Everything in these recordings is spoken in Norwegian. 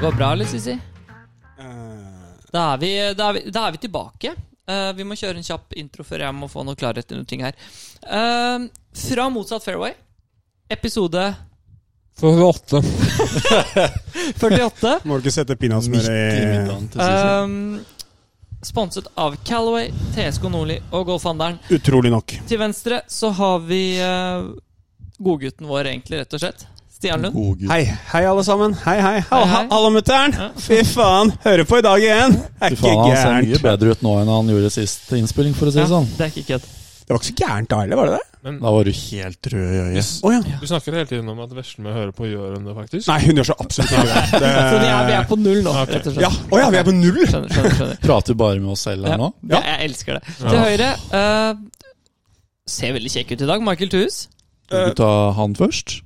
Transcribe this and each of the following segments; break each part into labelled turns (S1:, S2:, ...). S1: går bra, eller, Sissi?
S2: Eh,
S1: Da er vi, da er vi, da er vi tilbake. Eh, vi må kjøre en kjapp intro før jeg må få noe klarhet i noen ting her. Eh, fra motsatt fairway, episode
S3: 48.
S1: 48.
S2: må du ikke sette peanøttsmør i
S4: eh,
S1: Ehm, sponset av Calaway, TSK Nordli og Golfhandelen.
S2: Utrolig nok.
S1: Til venstre så har vi eh, godgutten vår, egentlig, rett og slett. Stian Lund.
S4: God gud.
S2: Hei, hei alle sammen. Hei, hei. Halla,
S1: Hei, hei.
S2: halla mutter'n.
S1: Ja.
S2: Fy faen, hører på i dag igjen. Er
S4: Fy
S2: ikke
S4: faen, han ser mye
S2: gærent.
S4: bedre ut nå enn han gjorde sist innspilling, for å si det
S1: Ja,
S4: sånn.
S1: det er ikke kødd.
S2: Det var ikke så gærent da heller, var det det?
S4: Da var du helt rød i øyet.
S2: Å ja.
S5: Du snakker hele tiden om at Veslemø hører på gjør hun det, faktisk.
S2: Nei, hun gjør så absolutt ikke det. det.
S1: Så vi er, vi er på null nå, rett og slett.
S2: Ja, å ja, vi er på null!
S1: Skjønner, skjønner, skjønner.
S4: Prater bare med oss selv her nå.
S1: Ja, jeg elsker det. Til høyre eh, Ser veldig kjekk ut i dag, Michael Thues.
S2: Eh,
S4: Skal du ta han først?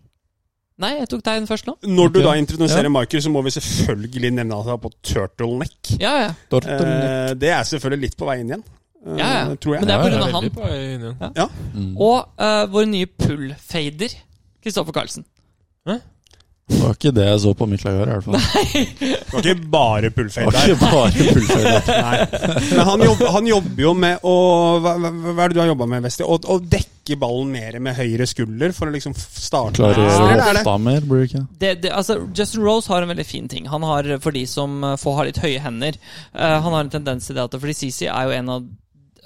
S1: Nei, jeg tok deg den først nå.
S2: Når du da introduserer Michael, så må vi selvfølgelig nevne at han er på turtleneck.
S1: Ja, ja.
S4: Dortmund.
S2: Eh, det er selvfølgelig litt på vei inn igjen, eh,
S1: ja, ja.
S2: tror
S1: Men
S2: jeg.
S1: det er
S4: Ja, ja.
S1: pga. han.
S5: Veldig på vei inn igjen.
S4: Mm.
S1: Og eh, vår nye pull-fader, Kristoffer Carlsen.
S4: Det var ikke det jeg så på mitt lag her, i hvert fall.
S2: Det var ikke bare
S4: Det
S2: pullfade
S4: var
S2: der.
S4: ikke bare fullført.
S2: Men han, jobb, han jobber jo med å Hva, hva, hva er det du har jobba med, Vesti? Å, å dekke ballen mer med høyre skulder for å liksom starte
S4: Klarere
S2: Eller er det-
S4: hofta mer, blir det ikke?
S1: det, det, altså, Justin Rose har en veldig fin ting. Han har, For de som eh, får ha litt høye hender eh, Han har en tendens til det at Fordi Sisi er jo en av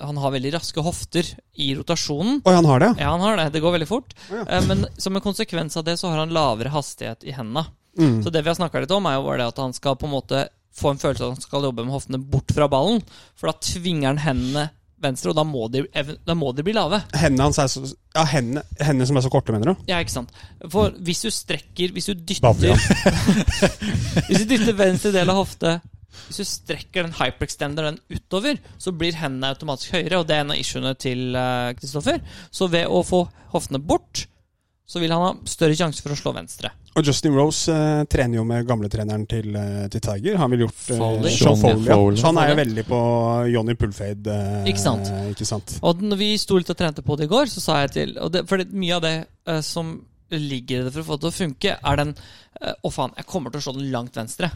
S1: Han har veldig raske hofter i rotasjonen.
S2: Oi, han har det, ja.
S1: Ja, han har det. Det går veldig fort.
S2: Ja.
S1: Eh, Men som en konsekvens av det så har han lavere hastighet i hendene.
S2: Mm.
S1: Så det vi har snakka litt om, er jo bare det at han skal på en måte få en følelse av at han skal jobbe med hoftene bort fra ballen. For da tvinger han hendene venstre, og da må de, ev- da må de bli lave.
S2: Hendene hans er så Ja, hendene, hendene som er så korte, mener du?
S1: Ja, ikke sant. For hvis du strekker Hvis du dytter
S2: Bavian.
S1: Hvis du dytter venstre del av hofte Hvis du strekker den hyperextenderen utover, så blir hendene automatisk høyere, og det er en av issuene til eh, Kristoffer. Så ved å få hoftene bort, så vil han ha større sjanse for å slå venstre.
S2: Og Justin Rose eh, trener jo med gamletreneren til, eh, til Tiger. Han ville gjort eh,
S1: Foley.
S2: Sean
S4: Sean
S2: Foley. Ja.
S4: Foley.
S2: Så han er jo veldig på Johnny Pullfade. eh,
S1: Ikke sant?
S2: Ikke sant?
S1: Og når vi sto litt og trente på det i går, så sa jeg til og det, For det, mye av det eh, som ligger i det for å få det til å funke, er den eh, Å, faen, jeg kommer til å slå den langt venstre.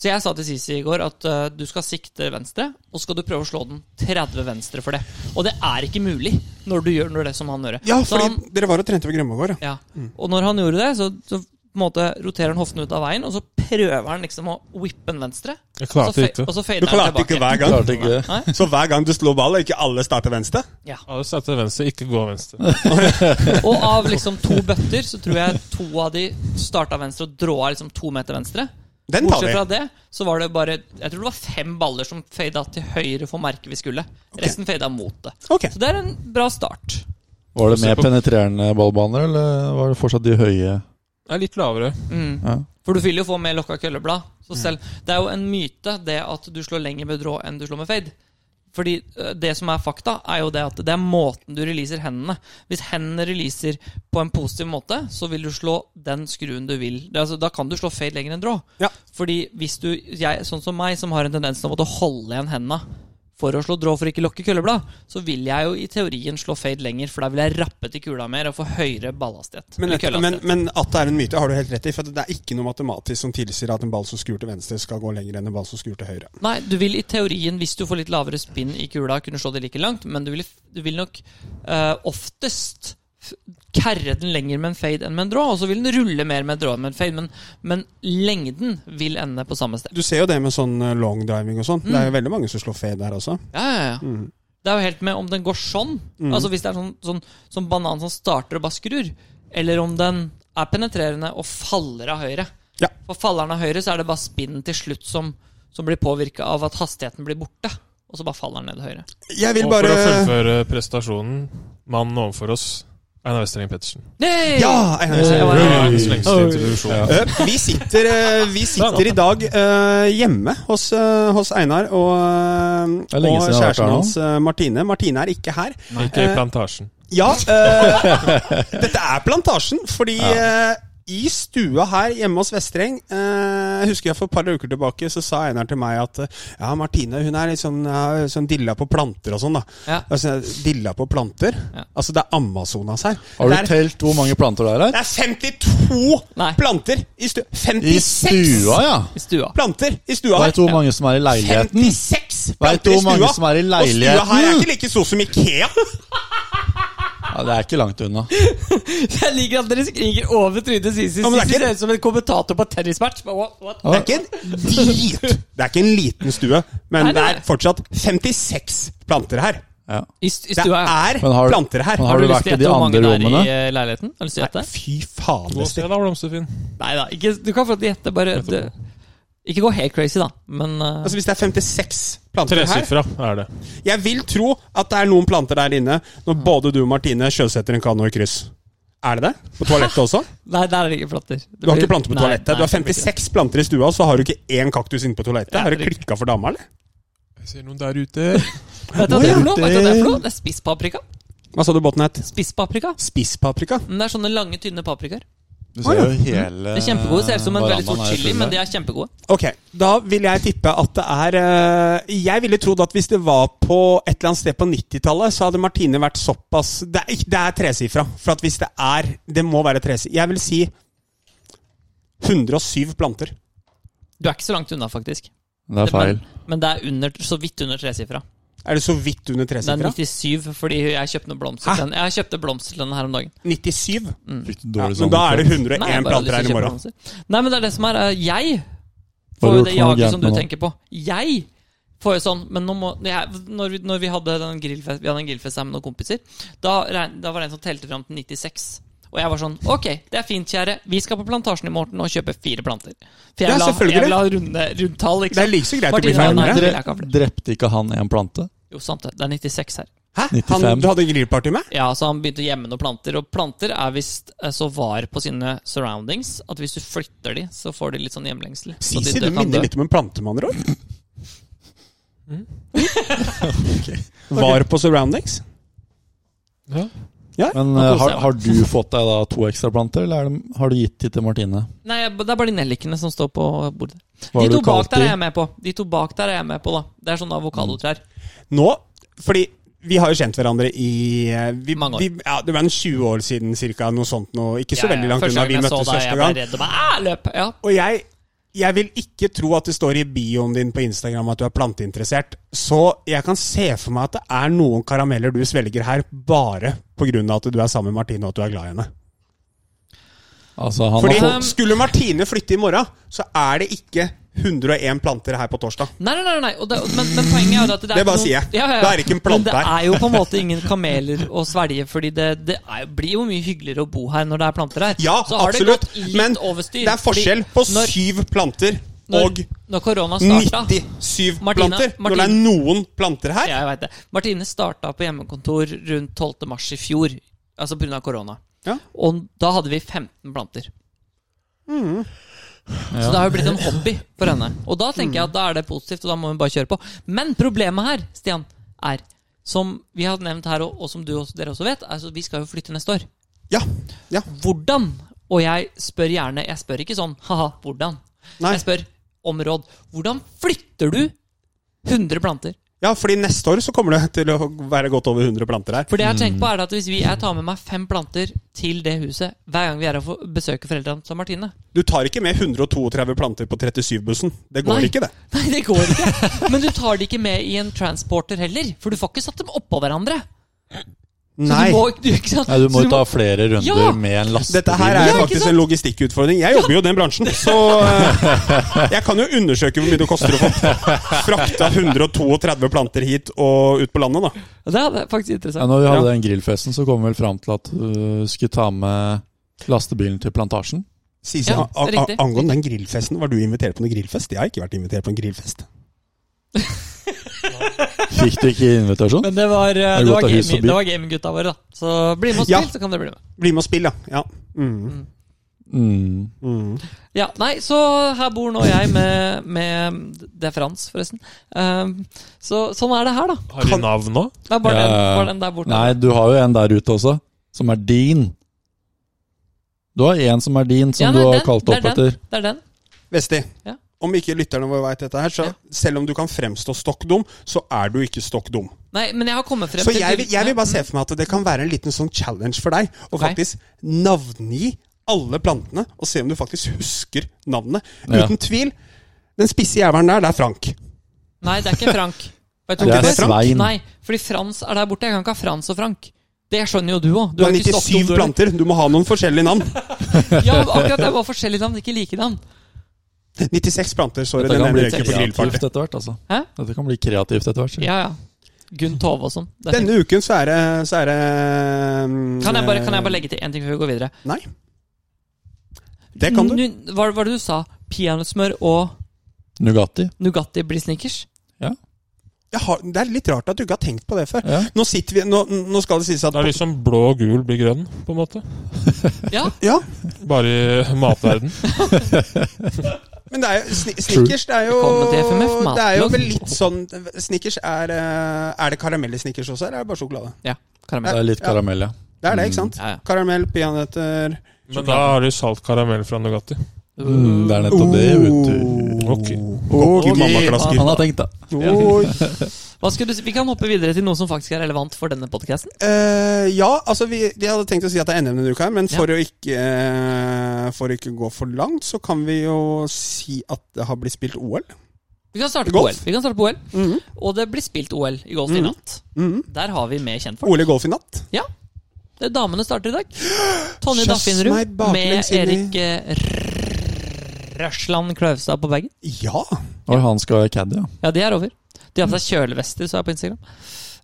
S1: Så jeg sa til Sisi i går at eh, du skal sikte venstre, og så skal du prøve å slå den 30 venstre for det. Og det er ikke mulig når du gjør når det som han gjør.
S2: Ja,
S1: så
S2: fordi
S1: han,
S2: dere var og trente ved Grømmegård. ja. Mm.
S1: ja. Og når han gjorde det, så, så på en måte roterer han hoften ut av veien, og så prøver han liksom å whippe den venstre.
S5: Jeg
S1: Og så,
S5: klarte
S1: fe-
S5: ikke.
S1: og så
S2: Du
S1: fader han
S2: klarte ikke
S1: tilbake.
S2: hver gang.
S4: Klarte ikke det.
S1: Nei?
S2: Så hver gang du slår ball, er ikke alle starter venstre?
S1: Ja.
S5: Alle satt til venstre, ikke gå venstre.
S1: Og av liksom to bøtter, så tror jeg to av de starta venstre og dråa liksom to meter venstre.
S2: Den tar
S1: Bortsett
S2: vi.
S1: fra det, så var det bare Jeg tror det var fem baller som fada til høyre for merket vi skulle. Resten fada mot det.
S2: Ok.
S1: Så det er en bra start.
S4: Var det mer penetrerende ballbaner, eller var det fortsatt de høye?
S5: Det er litt lavere.
S1: Mm.
S4: Ja.
S1: For du vil jo få med lokka kølleblad. Så selv, det er jo en myte det at du slår lenger med drå enn du slår med fade. Fordi øh, det som er fakta, er jo det at det er måten du releaser hendene. Hvis hendene releaser på en positiv måte, så vil du slå den skruen du vil. Det, er altså, da kan du slå fade lenger enn drå.
S2: Ja.
S1: Fordi hvis du, jeg, sånn som meg, som har en tendens til å måtte holde igjen hendene for å slå drå for å ikke lokke kølleblad, så vil jeg jo i teorien slå fade lenger, for da vil jeg rappe til kula mer og få høyere ballhastighet.
S2: Men,
S1: eller
S2: et, men,
S1: køllehastighet.
S2: men at det er en myte, har du helt rett i. For det er ikke noe matematisk som tilsier at en ball som skrur til venstre, skal gå lenger enn en ball som skrur til høyre.
S1: Nei, du vil i teorien, hvis du får litt lavere spinn i kula, kunne slå det like langt, men du vil, du vil nok eh, oftest f- kerre den lenger med en fade enn med en drå, og så vil den rulle mer med en drå enn med en fade, men, men lengden vil ende på samme sted.
S2: Du ser jo det med sånn eh, long driving og sånn. Det er jo veldig mange som slår fade her også.
S1: Ja, ja, ja. Det er jo helt med om den går sånn, altså hvis det er sånn, sånn, sånn banan som starter og bare skrur, eller om den er penetrerende og faller av høyre.
S2: Ja.
S1: For faller den av høyre, så er det bare spinnen til slutt som, som blir påvirka av at hastigheten blir borte, og så bare faller den ned høyre.
S2: Jeg vil
S5: Og
S2: bare
S5: for å fullføre prestasjonen, mannen overfor oss, Einar Westerling Pettersen.
S1: Nei!
S2: Ja! Einar Jensen.
S1: Det var-
S5: Det var verdens lengste introduksjon.
S4: Ja.
S2: Eh, Vi sitter, eh, vi sitter i dag eh, hjemme hos, eh, hos Einar og,
S4: Det er
S2: eh,
S4: lenge
S2: og
S4: siden jeg har vært her
S2: kjæresten
S4: nå.
S2: hans eh, Martine. Martine er ikke her.
S5: Ikke i plantasjen.
S2: Ja, eh, dette er plantasjen, fordi eh, i stua her hjemme hos Vestreng eh, Jeg husker jeg for et par uker tilbake så sa Einar til meg at eh, ja, Martine hun er litt sånn, ja, sånn dilla på planter og sånn. da.
S1: Ja.
S2: Altså, dilla på planter?
S1: Ja.
S2: Altså, det er Amazonas her.
S4: Har
S2: Det
S4: du
S2: er-
S4: telt hvor mange planter det er her?
S2: det er 52
S1: Nei.
S2: planter i stua!
S4: I
S2: 56
S4: stua, ja!
S1: I stua.
S2: planter i stua her!
S4: Veit du hvor mange som er i leiligheten?
S2: 56
S4: Vet
S2: planter
S4: du
S2: i
S4: hvor mange
S2: stua!
S4: som er i
S2: Og stua her er
S4: leiligheten?
S2: ikke like stor som Ikea!
S4: Ja, det er ikke langt unna.
S1: Jeg liker at dere skriker over trynet Sisi.
S2: Ja, men det er
S1: Sisi
S2: ikke-
S1: ser ut som en kommentator på tennismatch. Bare, What, what?
S2: Det er ikke en drit Det er ikke en liten stue, men
S1: Nei,
S2: det
S1: nei.
S2: er fortsatt 56 planter her.
S4: Ja.
S1: I, st I
S2: Det
S1: stua, ja.
S2: er
S4: Men har-
S2: planter her.
S4: men har- du
S1: lyst
S4: vært
S1: til å
S4: i de
S1: gjette hvor mange
S4: andre
S1: det er
S4: rommene?
S1: I eh, leiligheten? Har du lyst til å gjette?
S2: Fy faen,
S5: Gå og se
S2: Vester.
S5: da, blomsterfinn.
S1: Nei da, ikke, du kan få lov til å gjette. Bare du, Ikke gå helt crazy, da, men eh,
S2: Altså, hvis det er 56 planter her
S5: Tresifra er det.
S2: Jeg vil tro at det er noen planter der inne når både du og Martine sjøsetter en kano i kryss. Er det det? På toalettet også?
S1: Nei, der er det ikke planter. Det
S2: Du har
S1: blir-
S2: ikke planter på
S1: Nei,
S2: toalettet.
S1: nei,
S2: Du har
S1: det blir ikke det.
S2: 56 planter i stua, så har du ikke én kaktus inne på toalettet.
S1: Ja,
S2: Har det
S1: riktig.
S2: klikka for dama, eller?
S5: Jeg ser noen der ute.
S1: Vet du hva det er for
S4: Hvor er
S1: noe? Vet du hva det er
S4: det?
S1: for noe? Det er spisspaprika.
S2: Hva sa du båten het?
S1: Spisspaprika.
S2: Spisspaprika?
S1: Men det er sånne lange, tynne paprikaer.
S4: Du ser jo hele
S1: Det er kjempegode. Ser ut som en veldig stor
S4: verandaen er
S1: chili,
S4: full der.
S1: men de er sånn kjempegode.
S2: Ok, da vil jeg tippe at det er eh, Jeg ville trodd at hvis det var på et eller annet sted på 90-tallet, så hadde Martine vært såpass Det er, ikke- det er tresifra. For at hvis det er Det må være tresifra. Jeg vil si 107 planter.
S1: Du er ikke så langt unna, faktisk.
S4: Det er feil.
S1: Men, men det er under, så vidt under tresifra.
S2: Er det så vidt under
S1: Det er
S2: tresifra?
S1: 97, fordi jeg kjøpte noen blomster til den. Jeg kjøpte blomster til den her om dagen.
S2: 97?
S1: Mm.
S4: Fikk du
S2: Ja,
S4: dårlig sånn
S2: men da er det
S4: samvittighet?
S2: 101
S1: jeg bare har lyst til å
S2: planter her i
S1: kjøpe
S2: morgen.
S1: blomster. Nei, men det er det som er eh, Jeg
S4: Har
S1: får
S4: du
S1: jo
S4: gjort
S1: det
S4: noe
S1: jaget
S4: gærent
S1: som du
S4: med noe?
S1: tenker på. Jeg får jo sånn Men nå må jeg, når, vi, når vi hadde den grillfest, vi hadde en grillfest her med noen kompiser, da, regn- da var det en som telte fram til 96. Og jeg var sånn Ok, det er fint, kjære. Vi skal på Plantasjen i morgen og kjøpe fire planter. For jeg
S2: Ja,
S1: vil ha-
S2: selvfølgelig.
S1: jeg vil ha runde, rundtall,
S2: Det
S1: ikke
S2: er
S1: sant?
S2: like så greit å bli
S1: Martine,
S2: ferdig med
S1: nei,
S2: det.
S1: det er ikke
S4: Dre, eh, drepte ikke han en plante?
S1: Jo, sant det. Det er 96 her.
S2: Hæ?
S4: 95.
S2: Han, du hadde grillparty med?
S1: Ja, så han begynte å gjemme noen planter, og planter er visst eh, så var på sine surroundings at hvis du flytter de, så får de litt sånn hjemlengsel. Så de
S2: Sisi,
S1: dø-
S2: du
S1: kan dø.
S2: minner litt om en plante, med andre ord. Var på surroundings?
S5: Ja.
S4: Men
S1: Nå
S4: eh,
S1: koser
S4: har,
S1: jeg meg.
S4: har du fått deg da to ekstra planter, eller er det, har du gitt de til Martine?
S1: Nei, jeg- det er bare de nellikene som står på bordet.
S4: Hva har
S1: de to
S4: du
S1: bak
S4: kalt
S1: der er
S4: de?
S1: jeg med på. De to bak der er jeg med på, da. Det er sånne
S2: Mm.
S1: avokadotrær.
S2: Nå, fordi vi har jo kjent hverandre i eh, vi,
S1: Mange år.
S2: Vi, ja, Det var en 20 år siden cirka, noe sånt nå. Ikke så
S1: Ja, ja,
S2: veldig langt
S1: første
S2: unna.
S1: gang
S2: Vi
S1: jeg så
S2: møttes
S1: deg,
S2: første
S1: Jeg
S2: gang.
S1: ble redd og bare "Æ, løp. Ja.
S2: Og jeg, jeg vil ikke tro at det står i bioen din på Instagram at du er planteinteressert. Så jeg kan se for meg at det er noen karameller du svelger her bare pga. at du er sammen med Martine og at du er glad i henne.
S4: Altså, han
S2: Fordi
S4: har fått,
S1: fått-
S2: skulle Martine flytte i morgen, så er det ikke 101 planter her på torsdag.
S1: Nei, nei, nei, nei. Og det, men, men poenget er jo at det er
S2: Det bare
S1: ikke noe-
S2: sier jeg. Da er det ikke en
S1: Men det
S2: plante her.
S1: er jo på en måte ingen kameler å svelge, fordi det, det er, blir jo mye hyggeligere å bo her når det er planter her.
S2: Ja,
S1: Så har
S2: absolutt.
S1: det gått litt
S2: Men
S1: overstyr.
S2: det er forskjell på
S1: Fordi når-
S2: syv planter og
S1: når, når korona starta
S2: 97
S1: Martine,
S2: planter. Når det
S1: Martine.
S2: er noen planter her.
S1: Jeg vet det. Martine starta på hjemmekontor rundt 12. mars i fjor, altså pga. korona.
S2: Ja.
S1: Og da hadde vi 15 planter.
S2: Mm.
S1: Så det har jo blitt en hobby for henne. Og da tenker jeg at da er det positivt, og da må hun bare kjøre på. Men problemet her, Stian, er som vi har nevnt her, og, og som du også, dere også vet, er at vi skal jo flytte neste år.
S2: Ja. ja.
S1: Hvordan? Og jeg spør gjerne Jeg spør ikke sånn haha, hvordan?
S2: Nei.
S1: Jeg spør om råd. Hvordan flytter du 100 planter?
S2: ja, fordi neste år så kommer det til å være godt over 100 planter her.
S1: For det jeg har tenkt på er at hvis vi, jeg tar med meg fem planter til det huset hver gang vi er og får- besøker foreldrene til Martine
S2: Du tar ikke med 132 planter på 37-bussen. Det går
S1: Nei.
S2: ikke, det.
S1: Nei, det går ikke. Men du tar de ikke med i en transporter heller, for du får ikke satt dem oppå hverandre. Så
S2: Nei.
S1: Du må, du, ikke sant?
S4: Nei, du må
S1: Så
S4: jo ta flere runder
S1: Ja!
S4: med en lastebil.
S2: Dette her er
S1: Ja, ikke
S2: faktisk
S1: sant?
S2: en logistikkutfordring. Jeg jobber jo i den bransjen, så eh, jeg kan jo undersøke hvor mye det koster å få frakta 132 planter hit og ut på landet, da.
S1: Det er faktisk
S4: Ja,
S1: interessant.
S4: når vi hadde
S2: Ja.
S4: den grillfesten, så kom vi vel fram til at du skulle ta med lastebilen til plantasjen.
S2: Sisi,
S1: Ja,
S2: a- a-
S1: riktig.
S2: angående den grillfesten, var du invitert på noen grillfest? Jeg har ikke vært invitert på en grillfest.
S4: Fikk du ikke invitasjon?
S1: Men det var, eh,
S4: Er det
S1: det
S4: godt
S1: var,
S4: av hus og
S1: gaming,
S4: by?
S1: det var gaminggutta våre, da. Så bli med og
S2: Ja.
S1: spill, så kan dere bli med.
S2: Bli med og spill, ja. ja. Mm.
S4: Mm.
S2: Mm.
S1: Ja, nei, så her bor nå jeg med, med Det er Frans, forresten. Um, så sånn er det her, da.
S5: Har de navn nå?
S1: Det er bare,
S4: Ja.
S1: den, bare den der borte.
S4: Nei, du har jo en der ute også, som er din. Du har én som er din, som
S1: Ja,
S4: du
S1: nei,
S4: har
S1: den,
S4: kalt
S1: det
S4: opp
S1: er den.
S4: etter.
S1: Det er den.
S2: Vesti,
S1: Ja.
S2: om ikke lytterne våre veit dette her, så
S1: Ja.
S2: selv om du kan fremstå stokk dum, så er du ikke stokk dum.
S1: Nei, men jeg har kommet frem
S2: Så
S1: til
S2: jeg, vil- jeg vil bare se for meg at det kan være en liten sånn challenge for deg å
S1: Ok.
S2: faktisk navngi alle plantene, og se om du faktisk husker navnet.
S4: Ja.
S2: Uten tvil. Den spisse jævelen der, det er Frank.
S1: Nei, det er ikke Frank. Vet du
S4: Det
S1: hvorfor?
S4: er Svein.
S1: Nei, fordi Frans er der borte. Jeg kan ikke ha Frans og Frank. Det skjønner jo du òg.
S2: Du har 97 planter. Du må ha noen forskjellige navn.
S1: Ja, men akkurat det var forskjellige navn, ikke like navn.
S2: 96 planter, sorry.
S4: Dette
S2: Den
S4: kan bli
S2: ene røyker på grillparty.
S4: kreativt etter hvert, altså.
S1: Hæ?
S4: Dette kan bli kreativt etter hvert. sier jeg.
S1: Ja, ja. Gunn Tove og sånn. Det er fint.
S2: Denne uken så er det, så er det mm,
S1: Kan jeg, bare, kan jeg bare legge til én ting før vi går videre?
S2: Nei. Det kan du.
S1: Nu- Hva var det du sa? Peanøttsmør og
S4: Nugatti.
S1: Nugatti blir snickers?
S2: Jeg har, det er litt rart at du ikke har tenkt på det før.
S4: Ja.
S2: Nå, sitter vi, nå, nå skal det sies at
S5: Det er liksom blå og gul blir grønn, på en måte.
S1: Ja,
S2: Ja,
S5: Bare i matverden.
S2: men det er jo, sni- Snickers det er jo,
S1: Velkommen til FMF -matblogg.
S2: det er jo vel litt sånn Snickers er eh, Er det karamell i Snickers også, eller er det bare sjokolade?
S1: ja
S4: Det
S1: karamell.
S4: er litt karamell, ja.
S2: Det er det, ikke sant?
S1: Ja, ja.
S2: Karamell, peanøtter
S5: Men da har du salt karamell fra Nugatti.
S4: Mm, det er eh, nettopp det, vet du.
S5: Ok.
S2: Oh. Ok,
S1: Oh.
S4: Han,
S2: mammaklasker.
S4: han har tenkt, da.
S2: Oi.
S1: Hva skulle du si? Vi kan hoppe videre til noe som faktisk er relevant for denne podkasten.
S2: Eh, ja, altså vi, de hadde tenkt å si at det er NM denne uka, her, men for, å ikke, eh, for å ikke gå for langt, så kan vi jo si at det har blitt spilt OL.
S1: Vi kan starte på
S2: Golf.
S1: OL. Vi kan starte på OL. Og det blir spilt OL i golf i
S2: Mhm.
S1: natt.
S2: Mhm.
S1: Der har vi med kjentfolk.
S2: OL i golf i natt.
S1: Ja. Det er Damene starter i dag. Tonje
S2: Kjøss meg
S1: Daffinrud med
S2: baklengs inn i-
S1: Erik eh, R- Røsland Klauvstad på bagen.
S2: Ja!
S4: Og han skal være caddy, ja.
S1: Ja, de er over. De har på seg kjølevester, så jeg på Instagram.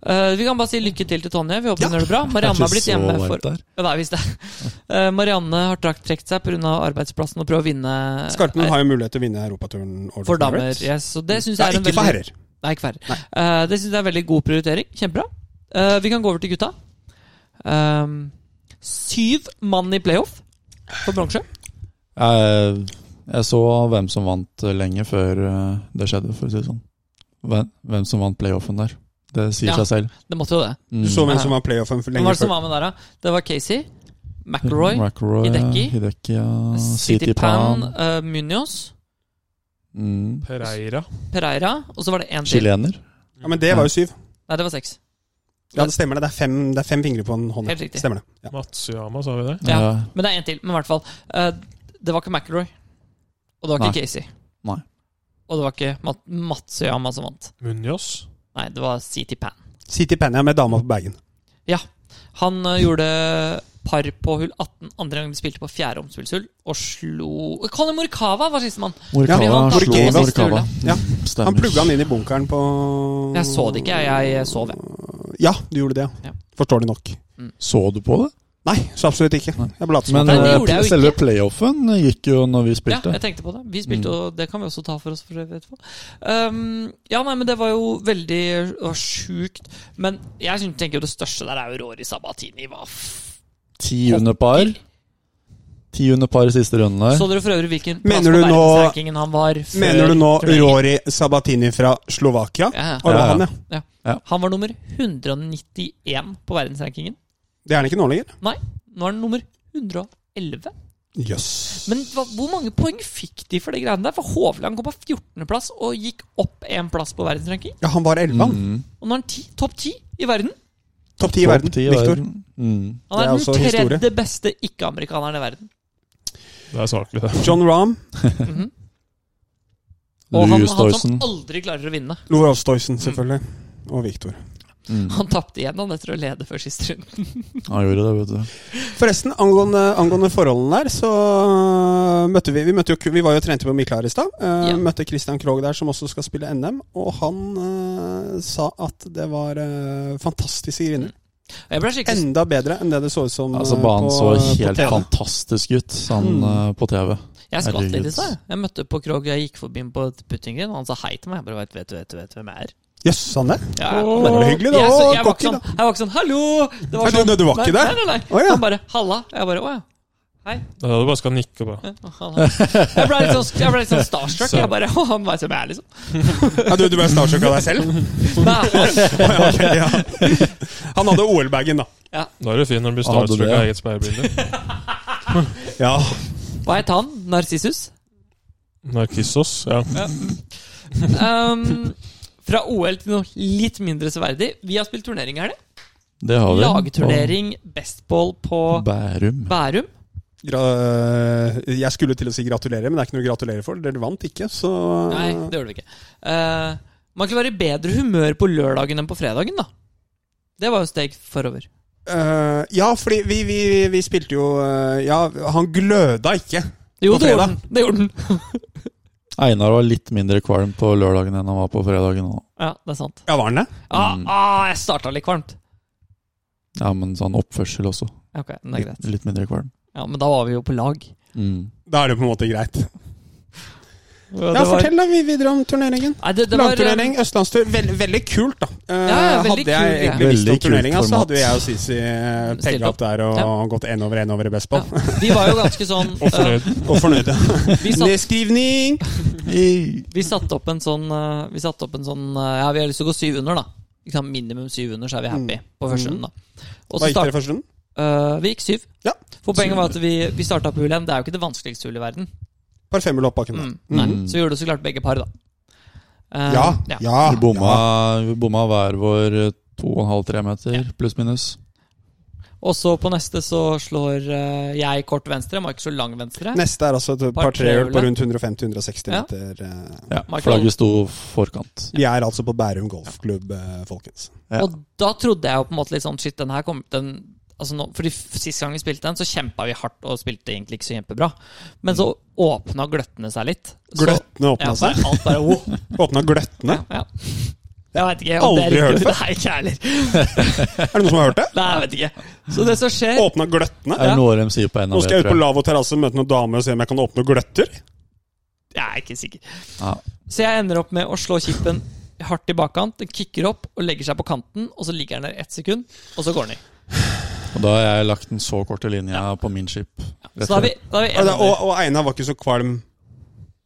S1: Eh, vi kan bare si lykke til til Tonje. Vi håper hun gjør det bra. Marianne har
S4: Ikke
S1: blitt
S4: så
S1: hjemme
S4: varmt
S1: for
S4: der.
S1: Ja, Nei, hvis det Eh, Marianne har trakt, trekt seg pga. arbeidsplassen og prøver å vinne
S2: Skarpen har jo mulighet til å vinne europaturen. over
S1: Eh, for damer.
S2: Emirates.
S1: Yes, og det synes
S2: Nei,
S1: jeg er en
S2: ikke for
S1: veldig-
S2: herrer.
S1: Nei, ikke for herrer. Eh, det syns jeg er en veldig god prioritering. Kjempebra. Eh, vi kan gå over til gutta. Ehm, syv mann i playoff for bronse.
S4: Jeg, Eh, jeg så hvem som vant eh, lenge før eh, det skjedde, for å si det sånn. Hvem, hvem som vant playoffen der. Det sier
S1: Ja.
S4: seg selv. Mm.
S1: Det måtte jo det.
S2: Du så hvem
S1: Ja.
S2: som var playoffen for
S1: Hvem
S2: lenge
S1: var det som
S2: før.
S1: var med der, da? Det var Casey, McIlroy,
S4: McElroy,
S1: Hideki.
S4: Hideki ja.
S1: City Pan, eh, Munoz,
S4: Mm.
S5: Pereira.
S1: Pereira, og så var det én til.
S4: Chilener.
S2: Ja, Men det var jo syv.
S1: Nei, det var seks.
S2: Ja, det stemmer det. Det er fem, det er fem fingre på en hånd.
S1: Helt riktig.
S2: Stemmer det. Ja.
S5: Matsuyama, sa vi det?
S1: Ja.
S4: Ja.
S1: Men det er én til. Men i hvert fall. eh, det var ikke McIlroy. Og det var ikke Casey.
S4: Nei.
S1: Og det var ikke Mat Matsuyama som vant.
S5: Munoz.
S1: Nei, det var CT Pan.
S2: City Pania med dama på bagen.
S1: Han eh, gjorde par på hull 18 andre gang de spilte på fjerde omspillshull, og slo Colin Morikawa var sistemann!
S4: Morikawa
S1: Ja, han
S4: slo
S2: tapte
S1: siste
S4: Morikawa.
S2: Ja.
S4: Mm, Stemmer.
S2: Han plugga han inn i bunkeren på
S1: Jeg så det ikke, jeg, jeg sov, jeg.
S2: Ja, du gjorde det.
S1: Ja.
S2: ja. Forståelig nok.
S4: Så du på det?
S2: Nei, så absolutt ikke.
S4: Nei.
S2: Jeg ble latt som
S4: Men
S1: Nei, det
S4: eh,
S1: gjorde jeg jo
S4: selve
S1: ikke.
S4: playoffen gikk jo når vi
S1: Ja,
S4: spilte.
S1: jeg tenkte på det. Vi spilte,
S4: Mm.
S1: og det kan vi også ta for oss. For øvrig etterpå. um, ja, nei, men det var jo veldig det var sjukt. Men jeg synes- tenker jo det største der er jo Rory Sabatini. Hva f...
S4: Ti under par. Ti under par i siste runde der.
S1: Så dere for øvrig hvilken plass
S2: Mener
S1: på
S2: du nå-
S1: verdensrankingen han var før
S2: Mener du nå
S1: turneringen?
S2: Rory Sabatini fra Slovakia?
S1: Ja, ja.
S2: Var det
S4: Ja, ja.
S2: han, ja?
S1: Han var nummer 191 på verdensrankingen.
S2: Det er han ikke nå lenger.
S1: Nei, nå er han nummer 111.
S2: Jøss.
S1: Men hva, hvor mange poeng fikk de for det greiene der? For Hovland kom på 14.-plass og gikk opp én plass på verdensranking.
S2: Ja, han var elleve, han.
S4: Mm.
S1: Og nå er han ti, topp ti i verden.
S2: Topp ti i verden.
S4: Topp ti i
S2: Victor.
S4: verden. Mm.
S1: Han
S2: Det
S1: er,
S2: er også
S1: den tredje
S2: historie.
S1: beste ikke-amerikaneren i verden.
S5: Det er svakelig, det.
S2: John Rahm,
S1: Mhm. Og han,
S4: Louis
S1: han som
S4: Doyson.
S1: aldri klarer å vinne.
S2: Lore Stoysen, selvfølgelig. Og Victor.
S4: Mm.
S1: Han tapte igjen han etter å lede før siste runde.
S4: Han gjorde det, vet du.
S2: Forresten, angående, angående forholdene der, så øh, møtte vi Vi, møtte jo, vi var jo og trente på Miklar i stad. øh,
S1: Ja.
S2: Møtte Christian Krogh der, som også skal spille NM. Og han øh, sa at det var øh, fantastiske griner.
S1: Jeg ble skikkelig
S2: Enda bedre enn det det så ut som
S4: Altså,
S2: øh,
S4: banen
S2: på-
S4: så
S2: på
S4: helt
S2: TV.
S4: fantastisk ut, sånn
S2: Mm.
S4: eh, på TV.
S1: Jeg skvatt litt i
S4: Herregud.
S1: stad. jeg. Jeg møtte på Krog, jeg gikk forbi ham på puttinggrind, og han sa hei til meg. Jeg bare vet, vet, vet, vet hvem jeg er.
S2: Jøss, sann det.
S1: Ja,
S2: Åh,
S1: men-
S2: det var hyggelig da.
S1: Jeg, så, jeg,
S2: Åh,
S1: var
S2: cocky
S1: ikke sånn, jeg var ikke sånn 'hallo'. Det
S2: Nei, du- du- du var ikke
S1: nei, Nei,
S2: det?
S1: nei, nei.
S2: Å, ja.
S1: Han bare 'halla'. Jeg bare 'å ja'. Hei.
S5: Det er da du bare skal nikke og bare
S1: Ja, han er- Jeg ble litt sånn, jeg ble litt sånn starstruck. Jeg bare, «Å, han vet hvem jeg er, liksom.
S2: Ja, du, du ble starstruck av deg selv?
S1: Nei,
S2: Å, ja, ok, ja. Han hadde OL-bagen, da.
S5: Da er du fin når du blir
S4: Hadde
S5: starstruck
S4: det,
S5: av
S4: ja.
S5: eget speilbilde.
S2: Ja.
S1: Hva het han? Narsissus?
S5: Narkissos, ja.
S1: Um, fra OL til noe litt mindre severdig. Vi har spilt turnering her, det.
S4: Det har vi.
S1: Lagturnering bestball på
S4: På Bærum.
S1: Bærum.
S2: Gra øh, jeg skulle til å si gratulerer, men det er ikke noe å gratulere for. Dere vant ikke, så
S1: Nei, det gjorde vi ikke. Eh, man kunne være i bedre humør på lørdagen enn på fredagen, da. Det var jo steg forover.
S2: Eh, Ja, fordi vi, vi, vi spilte jo eh, Ja, han gløda ikke.
S1: Jo,
S2: På
S1: det gjorde
S2: fredag.
S1: den. Det gjorde den.
S4: Einar var litt mindre kvalm på lørdagen enn han var på fredagen. også.
S1: Ja, det er sant.
S2: Ja, var han det?
S1: Ah,
S4: Mm.
S1: ah, jeg starta litt kvalmt.
S4: Ja, men sånn oppførsel også.
S1: Ok, det er
S4: Litt,
S1: greit.
S4: litt mindre kvalm.
S1: Ja, Men da var vi jo på lag.
S4: Mm.
S2: Da er det på en måte greit.
S1: Ja,
S2: Ja, fortell da vi- videre om turneringen.
S1: Nei, det, det var, eh,
S2: Langturnering, østlandstur. Veld, veldig kult, da.
S1: Ja,
S2: Eh,
S1: ja, veldig
S2: hadde jeg
S1: kult, ja.
S2: egentlig visst om
S4: Veldig kult
S2: turneringa, så
S4: format.
S2: hadde jo jeg og Sisi eh,
S1: Stilt
S2: pegga
S1: opp.
S2: opp der og
S1: Ja.
S2: gått én over én over i
S1: ja,
S2: bestball.
S1: vi var jo ganske sånn
S5: Og fornøyd.
S2: Og fornøyd.
S1: eh, vi, satt,
S2: Nedskrivning!
S4: Mm.
S1: vi satte opp en sånn eh, Vi satte opp en sånn eh, Ja, vi har lyst til å gå syv under, da. Ikke sant, minimum syv under, så er vi happy på første
S2: Mm.
S1: runde. da. Og
S2: Hva
S1: så
S2: gikk
S1: start,
S2: dere første runden?
S1: eh, vi gikk syv.
S2: Ja.
S1: For poenget var at vi, vi starta på hull én. Det er jo ikke det vanskeligste hullet i verden.
S2: Par femmer opp bakken.
S1: Mm.
S2: der.
S1: Nei.
S4: Mm.
S1: Så vi gjorde så klart begge par, da. Eh,
S2: Ja, ja.
S4: Vi bomma, vi bomma hver vår eh, to og en halv, tre meter, pluss minus.
S1: Og så på neste så slår eh, jeg kort venstre, Mark så lang venstre.
S2: Neste er altså et
S1: Par
S2: par trehjul på
S1: trehjulet.
S2: rundt 150-160
S1: Ja.
S2: meter. eh.
S4: Ja,
S1: Michael.
S4: flagget sto forkant.
S2: Vi er altså på Bærum golfklubb, eh, folkens.
S4: Ja.
S1: Og da trodde jeg jo på en måte litt sånn Shit, den her kom den, altså nå, Fordi f- sist gang vi spilte den, så kjempa vi hardt og spilte egentlig ikke så kjempebra. Men så åpna gløttene seg litt. Så-
S2: Gløttene
S1: Ja,
S2: åpna seg.
S1: bare, alt bare oh.
S2: Åpna gløttene?
S1: ja, ja. Jeg veit ikke. om det er
S2: Aldri hørt
S1: riktig.
S2: før.
S1: Nei, ikke jeg heller.
S2: Er det noen som har hørt det?
S1: Nei, jeg vet ikke. Så det som skjer
S2: Åpna gløttene?
S4: Er det noe de sier på NAV,
S2: Nå skal jeg ut på
S4: tror jeg?
S2: lavvo terrasse og møte noen damer og se om jeg kan åpne gløtter.
S1: Jeg er ikke sikker.
S4: Ja.
S1: Så jeg ender opp med å slå kippen hardt i bakkant. Den kicker opp og legger seg på kanten, og så ligger den der ett sekund, og så går den i.
S4: Og da har jeg lagt den så korte linja på min skip.
S1: Så da har vi, da har vi
S2: Ja,
S1: en
S2: da-
S1: under.
S2: Og, og Einar var ikke så kvalm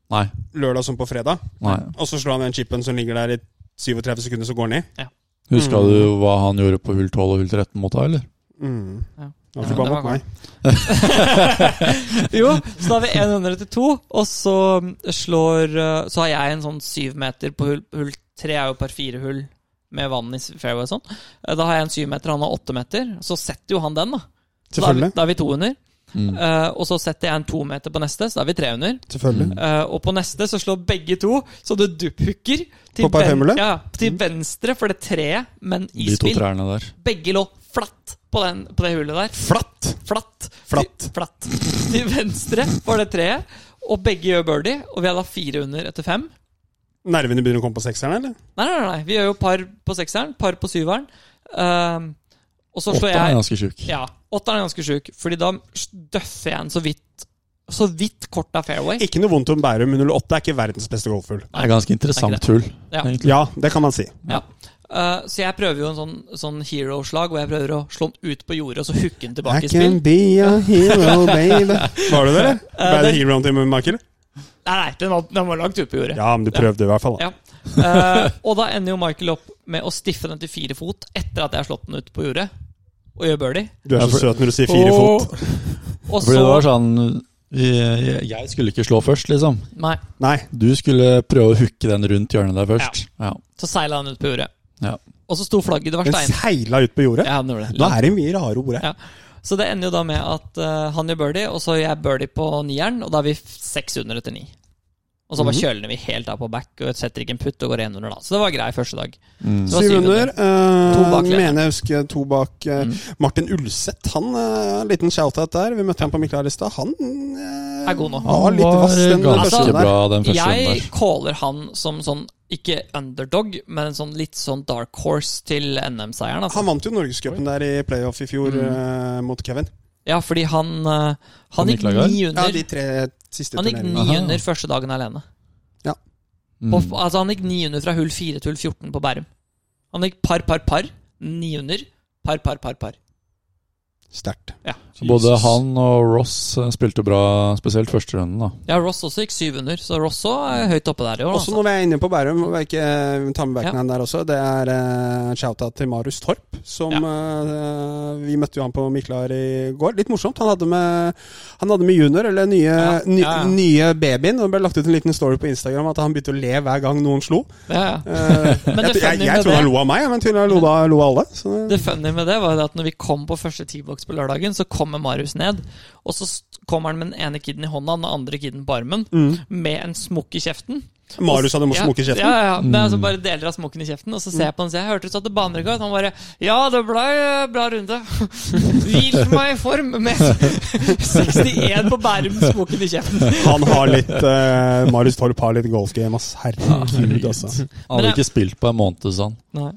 S4: Nei.
S2: lørdag som på fredag.
S4: nei.
S2: Og så slår han den chipen som ligger der i 37 sekunder, så går den i.
S4: Huska du hva han gjorde på hull 12 og hull 13 mot deg, eller?
S2: Mm.
S1: Ja.
S2: Han
S1: Ja,
S2: fikk bare
S1: det var
S2: mot meg.
S1: Jo, så da har vi en under etter to, og så slår eh, Så har jeg en sånn syv meter på hull, hull tre, er jo par fire hull med vann i fairway og sånn. Eh, Da har jeg en syv meter, han har åtte meter. Så setter jo han den, da. Så da er vi,
S2: Selvfølgelig.
S1: da er vi to under.
S4: Mm.
S1: Eh, og så setter jeg en to meter på neste, så da er vi tre under.
S2: Selvfølgelig.
S1: Eh, og på neste så slår begge to, så det dupphooker til,
S2: På par Mm. femhjulet?
S1: ja, til venstre for det treet, men i
S4: De to
S1: spill.
S4: trærne der.
S1: Begge lå flatt på, den, på det hullet der.
S2: Flatt!
S1: Flatt.
S2: Flatt.
S1: Til, flatt. til venstre for det treet, og begge gjør birdie. Og vi har da fire under etter fem.
S2: Nervene begynner å komme på sekseren, eller?
S1: Nei, nei, nei, vi gjør jo par på sekseren, par på syveren. Eh, og så slår
S4: Åtteren er
S1: jeg
S4: ganske tjukk.
S1: ja, Åtteren er ganske sjuk, fordi da døffer jeg en så vidt Så vidt kort av fairway.
S2: Ikke noe vondt om Bærum, men 08 er ikke verdens beste golfhull.
S4: Det er ganske interessant hull,
S1: Ja.
S4: egentlig.
S2: Ja, det kan man si.
S1: Ja. Eh, så jeg prøver jo en sånn, sånn hero-slag, hvor jeg prøver å slå den ut på jordet og så hooke den tilbake i spill.
S2: be a hero, baby. Var du det, eller?
S1: Eh,
S2: Ble
S1: det-
S2: det heroen til Michael?
S1: Nei, nei, den var, den var langt ute på jordet.
S2: Ja, men du prøvde i hvert fall. da.
S1: Ja. Eh, og da ender jo Michael opp med å stiffe den til fire fot etter at jeg har slått den ut på jordet, og gjør birdie.
S2: Du er
S4: Ja,
S2: så
S4: for-
S2: søt når du sier fire fot.
S1: Og
S4: Fordi det var
S1: så
S4: sånn jeg, jeg skulle ikke slå først, liksom.
S1: Nei,
S2: Nei.
S4: Du skulle prøve å hooke den rundt hjørnet der først. Ja.
S1: så seila den ut på jordet.
S4: Ja.
S1: Og så sto flagget, det var
S2: Den
S1: stein.
S2: seila ut på jordet.
S1: Ja, den gjorde det.
S2: Nå er det mye rare ord her.
S1: Ja. Så det ender jo da med at eh, han gjør birdie, og så gjør jeg birdie på nieren, og da er vi f- seks under etter ni. Og så bare
S2: Mhm.
S1: kjøler vi helt av på back og setter ikke en putt og går én under, da. Så det var grei første dag.
S4: Mm.
S1: Så- Det var
S2: Syv
S1: syv
S2: under.
S1: To bak
S2: Eh,
S1: Lene.
S2: mener jeg husker to bak eh,
S1: Mm.
S2: Martin Ulseth. Han, eh, liten shout-out der. Vi møtte han på Mikkel her i stad. Han eh,
S1: Er god nå.
S2: var litt vass den første
S4: ganske
S2: runden der.
S4: bra den første runden
S1: Jeg
S4: der.
S1: caller han som sånn ikke underdog, men en sånn litt sånn dark horse til NM-seieren. Altså.
S2: Han vant jo Norgescupen der i playoff i fjor
S1: Mm.
S2: eh, mot Kevin.
S1: Ja, fordi han eh,
S4: Og
S1: Han gikk
S4: Nikolai Gaard?
S1: ni
S2: Ja,
S1: under.
S2: de tre siste
S1: Han gikk
S2: turneringene.
S1: ni
S4: Aha.
S1: under første dagen alene.
S4: Mm.
S1: På, altså Han gikk ni under fra hull 4 til hull 14 på Bærum. Han gikk par, par, par. Ni under. Par, par, par, par.
S2: Sterkt.
S1: Ja.
S4: Så Både han og Ross eh, spilte bra, spesielt første runden. da.
S1: Ja, Ross også gikk syv under, så Ross òg er høyt oppe der i år.
S2: Også
S1: Altså.
S2: når vi er inne på Bærum, må vi ikke eh, ta med Backman der også. Det er eh, shout-out til Marius Torp, som eh, Vi møtte jo han på Miklar i går. Litt morsomt. Han hadde med, han hadde med junior, eller nye,
S1: Ja,
S2: ny-
S1: ja, ja.
S2: nye babyen. Og det ble lagt ut en liten story på Instagram at han begynte å le hver gang noen slo.
S1: Ja, ja.
S2: Eh, jeg,
S1: det
S2: jeg,
S1: funny
S2: jeg
S1: med
S2: tror han
S1: det-
S2: lo av meg, men tydelig lo, da, lo alle. Så, eh,
S1: Det funny med det var jo det at når vi kom på første T-box på lørdagen, så kommer Marius ned. Og så st- kommer han med den ene kiden i hånda og den andre kiden på armen,
S2: mm.
S1: med en smokk i kjeften.
S2: Marius hadde
S1: Ja,
S2: smoke i kjeften.
S1: Ja, ja, ja.
S4: Mm.
S1: Men altså bare deler av smokken i kjeften, og så ser jeg på han og sier 'Hørte du satte banerekord?' Han bare 'Ja, det ble eh, bra runde'. Hvilte meg i form med 61 på Bærum med smokken i kjeften.
S2: Han har litt eh, Marius Torp har litt goals game, ass. Herregud, altså.
S4: Han hadde
S1: jeg-
S4: ikke spilt på en måned, sånn. sa han.
S1: Nei.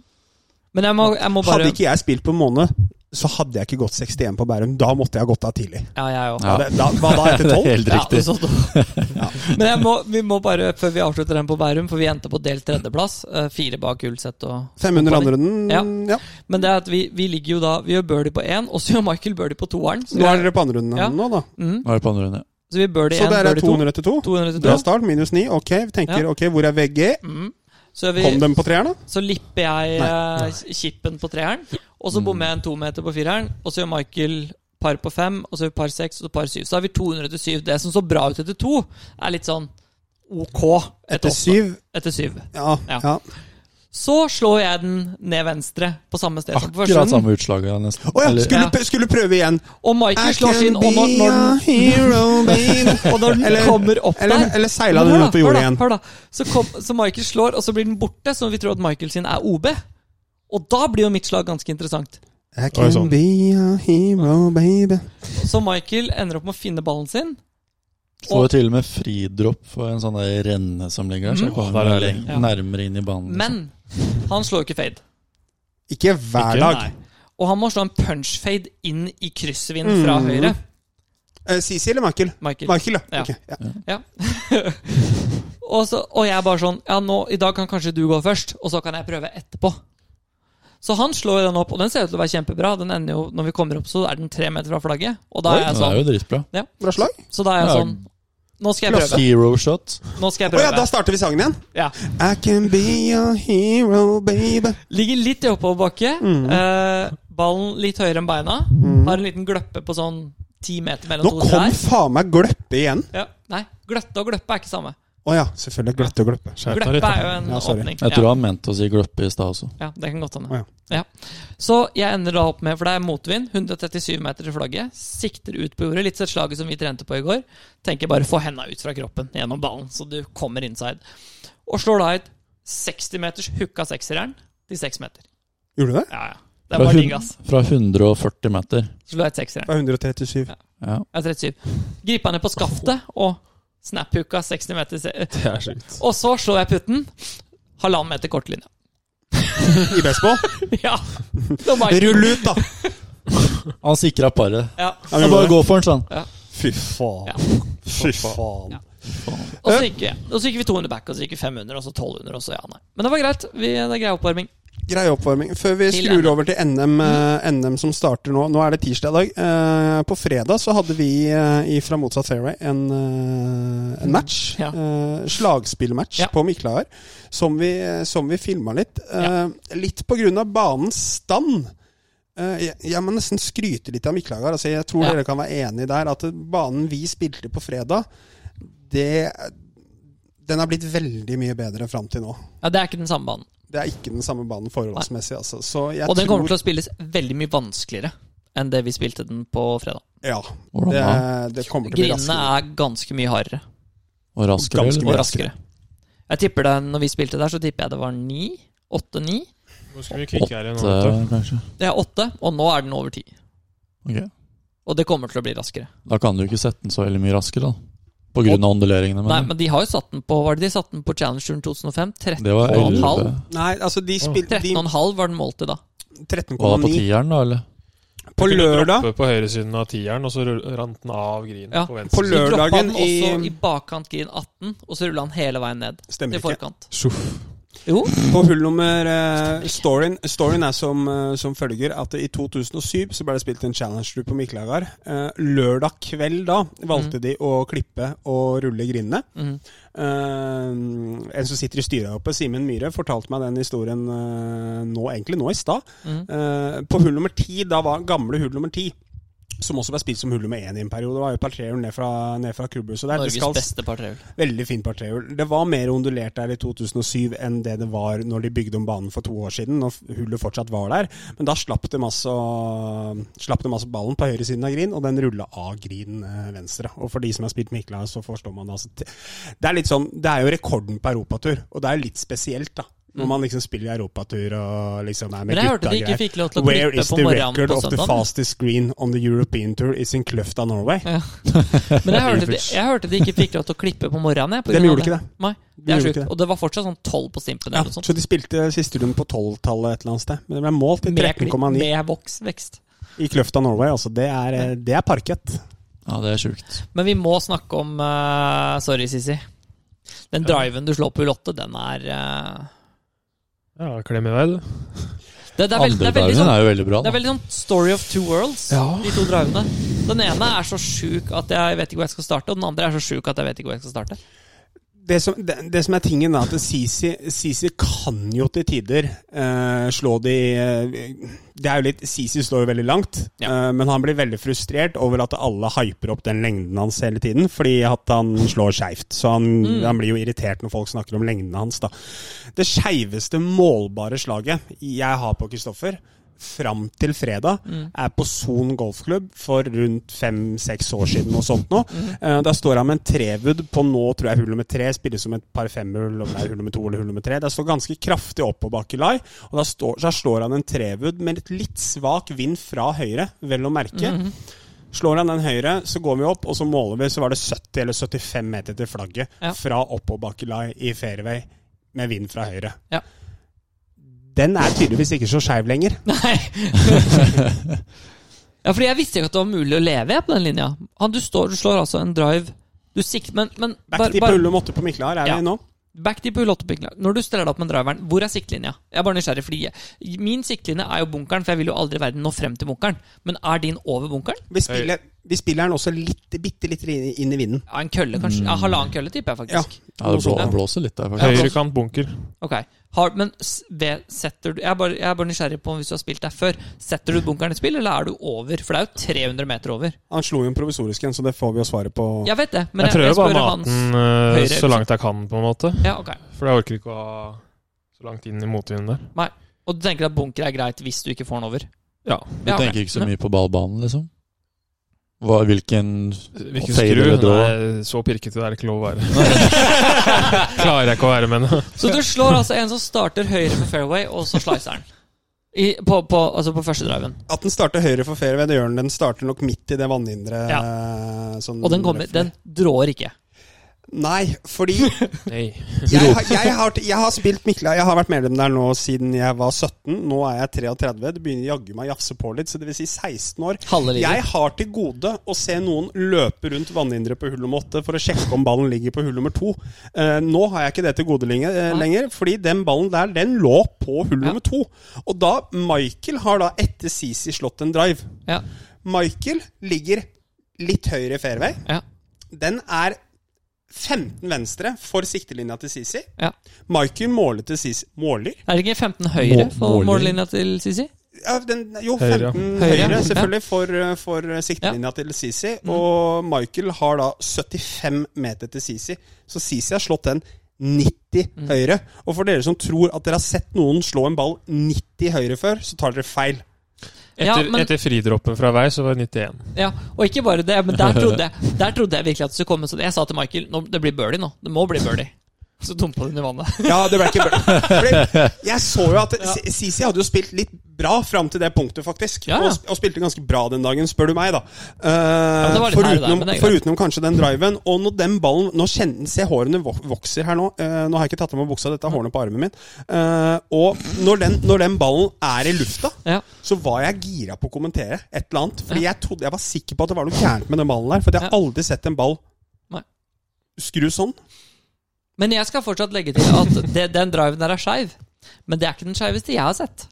S1: Men jeg må, jeg må bare
S2: Hadde ikke jeg spilt på en måned, så hadde jeg ikke gått 61 på Bærum. Da måtte jeg ha gått av tidlig.
S1: Ja, jeg òg.
S4: Ja.
S2: Ja. Det, da, hva da, etter 12?
S4: Helt
S1: Ja,
S4: riktig.
S1: sånn. Men jeg må, vi må bare, før vi avslutter den på Bærum, for vi endte på delt tredjeplass. eh, Fire bak Ulset og
S2: 500 andre runden? Ja.
S1: Men det er at vi, vi ligger jo da Vi gjør birdie på én, og så gjør Michael birdie på toeren. Så,
S2: Nå er
S1: vi-
S2: dere på andre runden
S1: Ja.
S2: nå, da.
S1: mm,
S4: Nå er det på andre runde.
S1: så vi birdie
S2: Så
S1: én,
S2: der er
S1: birdie to.
S2: 200 etter 2.
S1: 200 til
S2: Bra
S1: to.
S2: start, minus 9. Ok, vi tenker
S1: Ja.
S2: ok, hvor er VG?
S1: Mm. Så, gjør
S2: Kom
S1: vi,
S2: dem på treeren, da?
S1: så lipper jeg eh, chipen på treeren, og så bommer jeg en tometer på fireren. Og så gjør Michael par på fem, og så gjør vi par seks og så par syv. Så har vi 200 til syv. Det som så bra ut etter to, er litt sånn ok
S2: Etter 7?
S1: Etter syv.
S2: Ja.
S1: Ja.
S2: ja.
S1: Så slår jeg den ned venstre på samme sted som på første
S4: Akkurat
S1: runden.
S4: samme utslaget, nesten.
S2: Å ja,
S4: Eller-
S2: skulle,
S1: Ja.
S2: pr- skulle prøve igjen.
S1: Og Michael slår sin, og når, når den
S2: hero, babe.
S1: Og når den
S2: Eller-
S1: kommer opp
S2: Eller,
S1: der
S2: eller seila
S1: Hør
S2: den
S1: da,
S2: rundt på
S1: hør da,
S2: jordet igjen.
S1: hør da. Så, kom, så Michael slår, og så blir den borte, så vi tror at Michael sin er OB. Og da blir jo mitt slag ganske interessant.
S2: I
S5: Oi,
S2: can
S5: sånn.
S2: be a hero, baby.
S1: Så Michael ender opp med å finne ballen sin.
S4: Så var det til og med fridropp for en sånn der renne som ligger der. Så
S1: Mm.
S4: jeg
S5: Åh,
S4: kommer
S5: der er
S4: leng-
S1: Ja.
S4: nærmere inn i banen. liksom.
S1: Men han slår jo ikke fade.
S2: Ikke hver
S5: Ikke?
S2: dag.
S1: Og han må slå en punch-fade inn i kryssvinden fra
S2: Mm.
S1: høyre.
S2: Eh, Sisi eller Michael?
S1: Michael.
S2: Michael, ja.
S1: Ja.
S2: Ok, ja.
S1: Og, så, og jeg er bare sånn Ja, nå, i dag kan kanskje du gå først, og så kan jeg prøve etterpå. Så han slår jo den opp, og den ser ut til å være kjempebra. Den ender jo, Når vi kommer opp, så er den tre meter fra flagget. Og da
S4: Oi,
S1: er jeg
S4: det er
S1: sånn.
S4: jo dritbra.
S2: Bra slag.
S1: Så da er jeg
S4: Ja.
S1: sånn Nå skal jeg prøve.
S4: Zero shot.
S1: Nå skal jeg
S2: Å ja, da
S1: prøve.
S2: starter vi sangen igjen.
S1: Ja.
S2: I can be a hero, baby.
S1: Ligger litt i oppoverbakke.
S2: Mm.
S1: Eh, ballen litt høyere enn beina. Har en liten gløppe på sånn ti meter mellom
S2: Nå
S1: to
S2: kom
S1: trær.
S2: faen meg gløppe igjen.
S1: Ja. Nei, gløtte og gløppe er ikke samme.
S2: Å ja, selvfølgelig. Gløtte og gløppe.
S5: Skjerp deg litt.
S1: Gløppe
S5: da.
S1: er jo en
S2: Ja, sorry.
S1: åpning.
S4: Jeg tror
S1: Ja.
S4: han mente å si gløppe i stad også.
S1: Ja, det kan godt hende.
S2: Å,
S1: ja. Så jeg ender da opp med, for det er motvind, 137 meter til flagget. Sikter ut på jordet, litt sånn slaget som vi trente på i går. Tenker bare få henda ut fra kroppen gjennom ballen, så du kommer inside. Og slår da et 60 meters hooka sekserjern til 6 meter.
S2: Gjorde du det?
S1: Ja, ja. Det var
S4: hun-
S1: digg, ass.
S4: fra 140 meter.
S1: Slå et sekserjern.
S2: Det var 137.
S4: Ja.
S1: Ja, 37. Griper han ned på skaftet og snap-hooka 60 meter. se-
S5: Det er sjukt.
S1: Og så slår jeg putten. Halvannen meter kortlinja.
S2: I baseball.
S1: Ja! Så Michael-
S2: Rull ut, da!
S4: Han sikra paret.
S1: Ja.
S2: Ja,
S4: Han
S2: gjorde
S4: bare
S2: det.
S4: gå for den, sånn.
S2: Fy faen.
S1: Ja.
S2: Fy faen.
S1: Ja. Og
S2: Eh?
S1: så gikk, ja. og så gikk vi 200 back, og så gikk vi 500, og så 1200, og så ja, nei. Men det var greit. Vi, det er grei oppvarming.
S2: Grei oppvarming. Før vi
S1: Til
S2: skrur
S1: NM.
S2: over til NM, eh, NM som starter nå Nå er det tirsdag i dag. Eh, på fredag så hadde vi eh, i fra motsatt fairway en, eh, en match.
S1: Ja.
S2: Eh, slagspillmatch
S1: Ja.
S2: på Miklahar som vi, som vi filma litt. Eh, Litt på grunn av banens stand. Eh, jeg, jeg må nesten skryte litt av Miklahar. Altså, jeg tror
S1: Ja.
S2: dere kan være enige der at banen vi spilte på fredag, det, den har blitt veldig mye bedre fram til nå.
S1: Ja, Det er ikke den samme banen.
S2: Det er ikke den samme banen forholdsmessig, altså. Så jeg
S1: Og den
S2: tror
S1: kommer til å spilles veldig mye vanskeligere enn det vi spilte den på fredag.
S2: Ja.
S4: Hvordan
S2: Det,
S4: da?
S2: det kommer til å bli
S1: Grinene
S2: raskere.
S1: er ganske mye hardere
S4: Og raskere?
S2: Ganske
S4: eller?
S1: og raskere. Jeg tipper det, Når vi spilte der, så tipper jeg det var ni. Åtte-ni.
S5: Hvor skal vi kvikke her i nå? vet du?
S4: Åtte, kanskje.
S1: Det er åtte, og nå er den over ti.
S4: Ok.
S1: Og det kommer til å bli raskere.
S4: Da kan du ikke sette den så veldig mye raskere, da. På grunn av onduleringene.
S1: Nei,
S4: Men
S1: men de har jo satt den på Var det de satt den på Challenge Touren 2005?
S4: det var
S1: 13,5
S4: 11.
S2: Nei, altså de spilte
S1: 13,5 var den målt til da.
S2: 13,9
S4: Var det på tieren, da, eller?
S2: på
S5: Du kunne
S2: lørdag.
S5: Droppe på høyresiden av tieren, og så rull- rant den av grinen
S1: Ja.
S5: på
S2: På
S5: venstre.
S1: Så droppa
S2: lørdagen
S1: den
S2: i
S1: også i bakkant green 18, og så rulla han hele veien ned. Til
S2: Stemmer ikke.
S1: forkant.
S5: Sjoff.
S1: Jo.
S2: På hull nummer eh, storyen, storyen er som, eh, som følger at i 2007 så ble det spilt en challenge group på Mikkelagar. Eh, lørdag kveld da
S1: Mm.
S2: valgte de å klippe og rulle grindene.
S1: Mhm.
S2: Eh, en som sitter i styret her oppe, Simen Myhre, fortalte meg den historien eh, nå, egentlig nå i stad.
S1: Mhm.
S2: Eh, på hull nummer ti, da var gamle hull nummer ti, som også ble spilt som hull nummer én i en periode, var jo partrehjul ned fra, ned fra klubbhuset der. Det
S1: Norges
S2: skal
S1: beste partrehjul.
S2: Veldig fint partrehjul. Det var mer ondulert der i 2007 enn det det var når de bygde om banen for to år siden, når hullet fortsatt var der. Men da slapp de altså, slapp de altså ballen på høyresiden av Grin, og den rulla av Grin eh, venstre. Og for de som har spilt Mikla, så forstår man det. Altså, T- det er litt sånn, det er jo rekorden på europatur, og det er jo litt spesielt, da. Når man liksom spiller europatur og liksom er med
S1: Mm. Men jeg hørte
S2: gutta og
S1: de ikke
S2: greier.
S1: fikk lov til å
S2: Where
S1: klippe
S2: is
S1: på
S2: the
S1: morgenen
S2: record
S1: på
S2: of the
S1: søndag.
S2: fastest green on the European tour is in Kløfta, Norway?
S1: Men jeg hørte, de, jeg hørte de ikke fikk lov til å klippe på morgenen. Jeg, på
S2: De
S1: grunn av
S2: gjorde ikke det.
S1: Nei,
S2: De
S1: det er
S2: gjorde
S1: sjukt.
S2: ikke det.
S1: Og det var fortsatt sånn 12 på stimpen.
S2: Ja,
S1: Eller noe sånt.
S2: så de spilte siste runden på 12-tallet et eller annet sted. Men det ble målt i
S1: Med, kli-
S2: 13,9
S1: med voksvekst.
S2: i Kløfta Norway. Altså, det er, eh, det er parkett.
S4: Ja, det er sjukt.
S1: Men vi må snakke om eh, Sorry, Sissy. Den driven du slår på hull 8, den er eh,
S5: Ja, klem i vei, du.
S1: det, det, er veld, det,
S4: Andre
S1: er veldig
S4: dagen
S1: sånn,
S4: er jo veldig bra.
S1: det er
S4: Da.
S1: veldig sånn story of two worlds,
S5: Ja.
S1: de to drivene. Den ene er så sjuk at jeg vet ikke hvor jeg skal starte, og den andre er så sjuk at jeg vet ikke hvor jeg skal starte.
S2: Det som, det, det som er tingen, er at Sisi, Sisi kan jo til tider eh, slå de eh, Det er jo litt Sisi slår jo veldig langt, eh, men han blir veldig frustrert over at alle hyper opp den lengden hans hele tiden, fordi at han slår skeivt. Så han, han blir jo irritert når folk snakker om lengdene hans, da. Det skeiveste målbare slaget jeg har på Kristoffer, fram til fredag, er på Son golfklubb for rundt fem-seks år siden. Noe sånt nå. Eh, Der står han med en trewood på nå, tror jeg, hull nummer tre. Spilles som et par femhull, om det er hull nummer to eller hull nummer tre. Der står ganske kraftig oppoverbakke lai, og da står, der slår han en trewood med litt, litt svak vind fra høyre, vel å merke. Slår han den høyre, så går vi opp, og så måler vi, så var det 70 eller 75 meter til flagget
S1: Ja.
S2: fra oppoverbakke lai i fairway med vind fra høyre.
S1: Ja.
S2: Den er tydeligvis ikke så skeiv lenger.
S1: Nei. ja, fordi jeg visste ikke at det var mulig å leve jeg, på den linja. Han, du, står, du slår altså en drive Du sikter, men, men
S2: Back
S1: bare-
S2: til
S1: bare-
S2: pull og måtte på Miklar er
S1: Ja.
S2: vi nå.
S1: Backdeep hull åtte pikkene. Når du steller deg opp med driveren, hvor er siktlinja? Jeg er bare nysgjerrig, fordi jeg- min siktlinje er jo bunkeren, for jeg vil jo aldri i verden nå frem til bunkeren. Men er din over bunkeren?
S2: Vi spiller, vi spiller den også litt, bitte litt inn i- inn i vinden.
S1: Ja, en kølle, kanskje. Ja, halvannen
S5: Mm.
S1: kølle, tipper jeg
S2: Ja,
S1: faktisk.
S4: Ja, det blå,
S1: Ja.
S4: blåser litt der, faktisk.
S5: Høyrekant bunker.
S1: Ok. Har, men s- ved, setter du jeg er, bare, jeg er bare nysgjerrig på hvis du har spilt der før. Setter du bunkeren i spill, eller er du over? For det er jo 300 meter over.
S2: Han slo jo en provisorisk en, så det får vi jo svaret på.
S1: Jeg vet det, men
S5: Jeg prøver
S1: spør
S5: bare å mate den eh,
S1: høyre-
S5: så langt jeg kan, på en måte.
S1: Ja, ok.
S5: For jeg orker ikke å ha så langt inn i motvinden der.
S1: Og du tenker at bunker er greit hvis du ikke får den over?
S5: Ja.
S4: Du
S1: ok.
S4: tenker ikke så
S1: Men-
S4: mye på ballbanen, liksom? Hva, hvilken
S5: Hvilken
S4: Fader
S5: skru?
S4: eller draw?
S5: Nei, så pirkete er det ikke lov å være. Klarer jeg ikke å være med henne.
S1: Så du slår altså en som starter høyre på fairway, og så slicer den. I, på, på, altså på første driven.
S2: At den starter høyre for fairway, det gjør den. Den starter nok midt i det vannhinderet. eh, sånn
S1: Og den kommer Den drår ikke.
S2: Nei, fordi
S5: Nei.
S2: jeg, har- jeg, har, jeg har spilt Mikla Jeg har vært medlem der nå siden jeg var 17. Nå er jeg 33. Det begynner jaggu meg å jafse på litt, så det vil si 16 år.
S1: Halve livet.
S2: Jeg har til gode å se noen løpe rundt vannhinderet på hull nummer åtte for å sjekke om ballen ligger på hull nummer to. Eh, nå har jeg ikke det til gode lenge, eh,
S1: Nei.
S2: lenger, fordi den ballen der, den lå på hull
S1: Ja.
S2: nummer to. Og da Michael har da etter Sisi slått en drive.
S1: Ja,
S2: Michael ligger litt høyere i fairway.
S1: ja,
S2: Den er 15 venstre for siktelinja til Sisi.
S1: ja.
S2: Michael måler til Sisi Måler?
S1: Er det ikke 15 høyre
S4: Må-
S1: på
S4: måler.
S1: mållinja til Sisi?
S2: Ja, den, jo,
S5: Høyre,
S2: 15
S5: ja.
S2: høyre,
S1: Høyre, ja. Mm.
S2: selvfølgelig, for, for siktelinja til Sisi. Og Michael har da 75 meter til Sisi, så Sisi har slått den 90
S1: Mm.
S2: høyre. Og for dere som tror at dere har sett noen slå en ball 90 høyre før, så tar dere feil.
S5: Etter,
S1: Ja, men-
S5: etter fridroppen fra vei, så var det 91.
S1: Ja, Og ikke bare det, men der trodde jeg, der trodde jeg virkelig at det skulle komme sånn. Jeg sa til Michael nå, det blir birdie nå. Det må bli birdie. Så dumpa den i vannet.
S2: Ja, det ble ikke bra. Fordi Jeg så jo at Si- Sisi hadde jo spilt litt bra fram til det punktet, faktisk.
S1: Ja, ja.
S2: Og, sp- og spilte ganske bra den dagen, spør du meg, da. Eh,
S1: det var litt her og der,
S2: forutenom,
S1: men det er greit.
S2: forutenom kanskje den driven. Og når den ballen Nå kjenner, Se hårene vok- vokser her nå. Eh, nå har jeg ikke tatt av meg buksa, dette er hårene på armen min. Eh, og når den, når den ballen er i lufta,
S1: Ja.
S2: så var jeg gira på å kommentere et eller annet. Fordi jeg trodde jeg var sikker på at det var noe gærent med den ballen der. For jeg har aldri sett en ball
S1: Nei.
S2: skru sånn.
S1: Men jeg skal fortsatt legge til at det, den driven der er skeiv. Men det er ikke den skeiveste jeg har sett.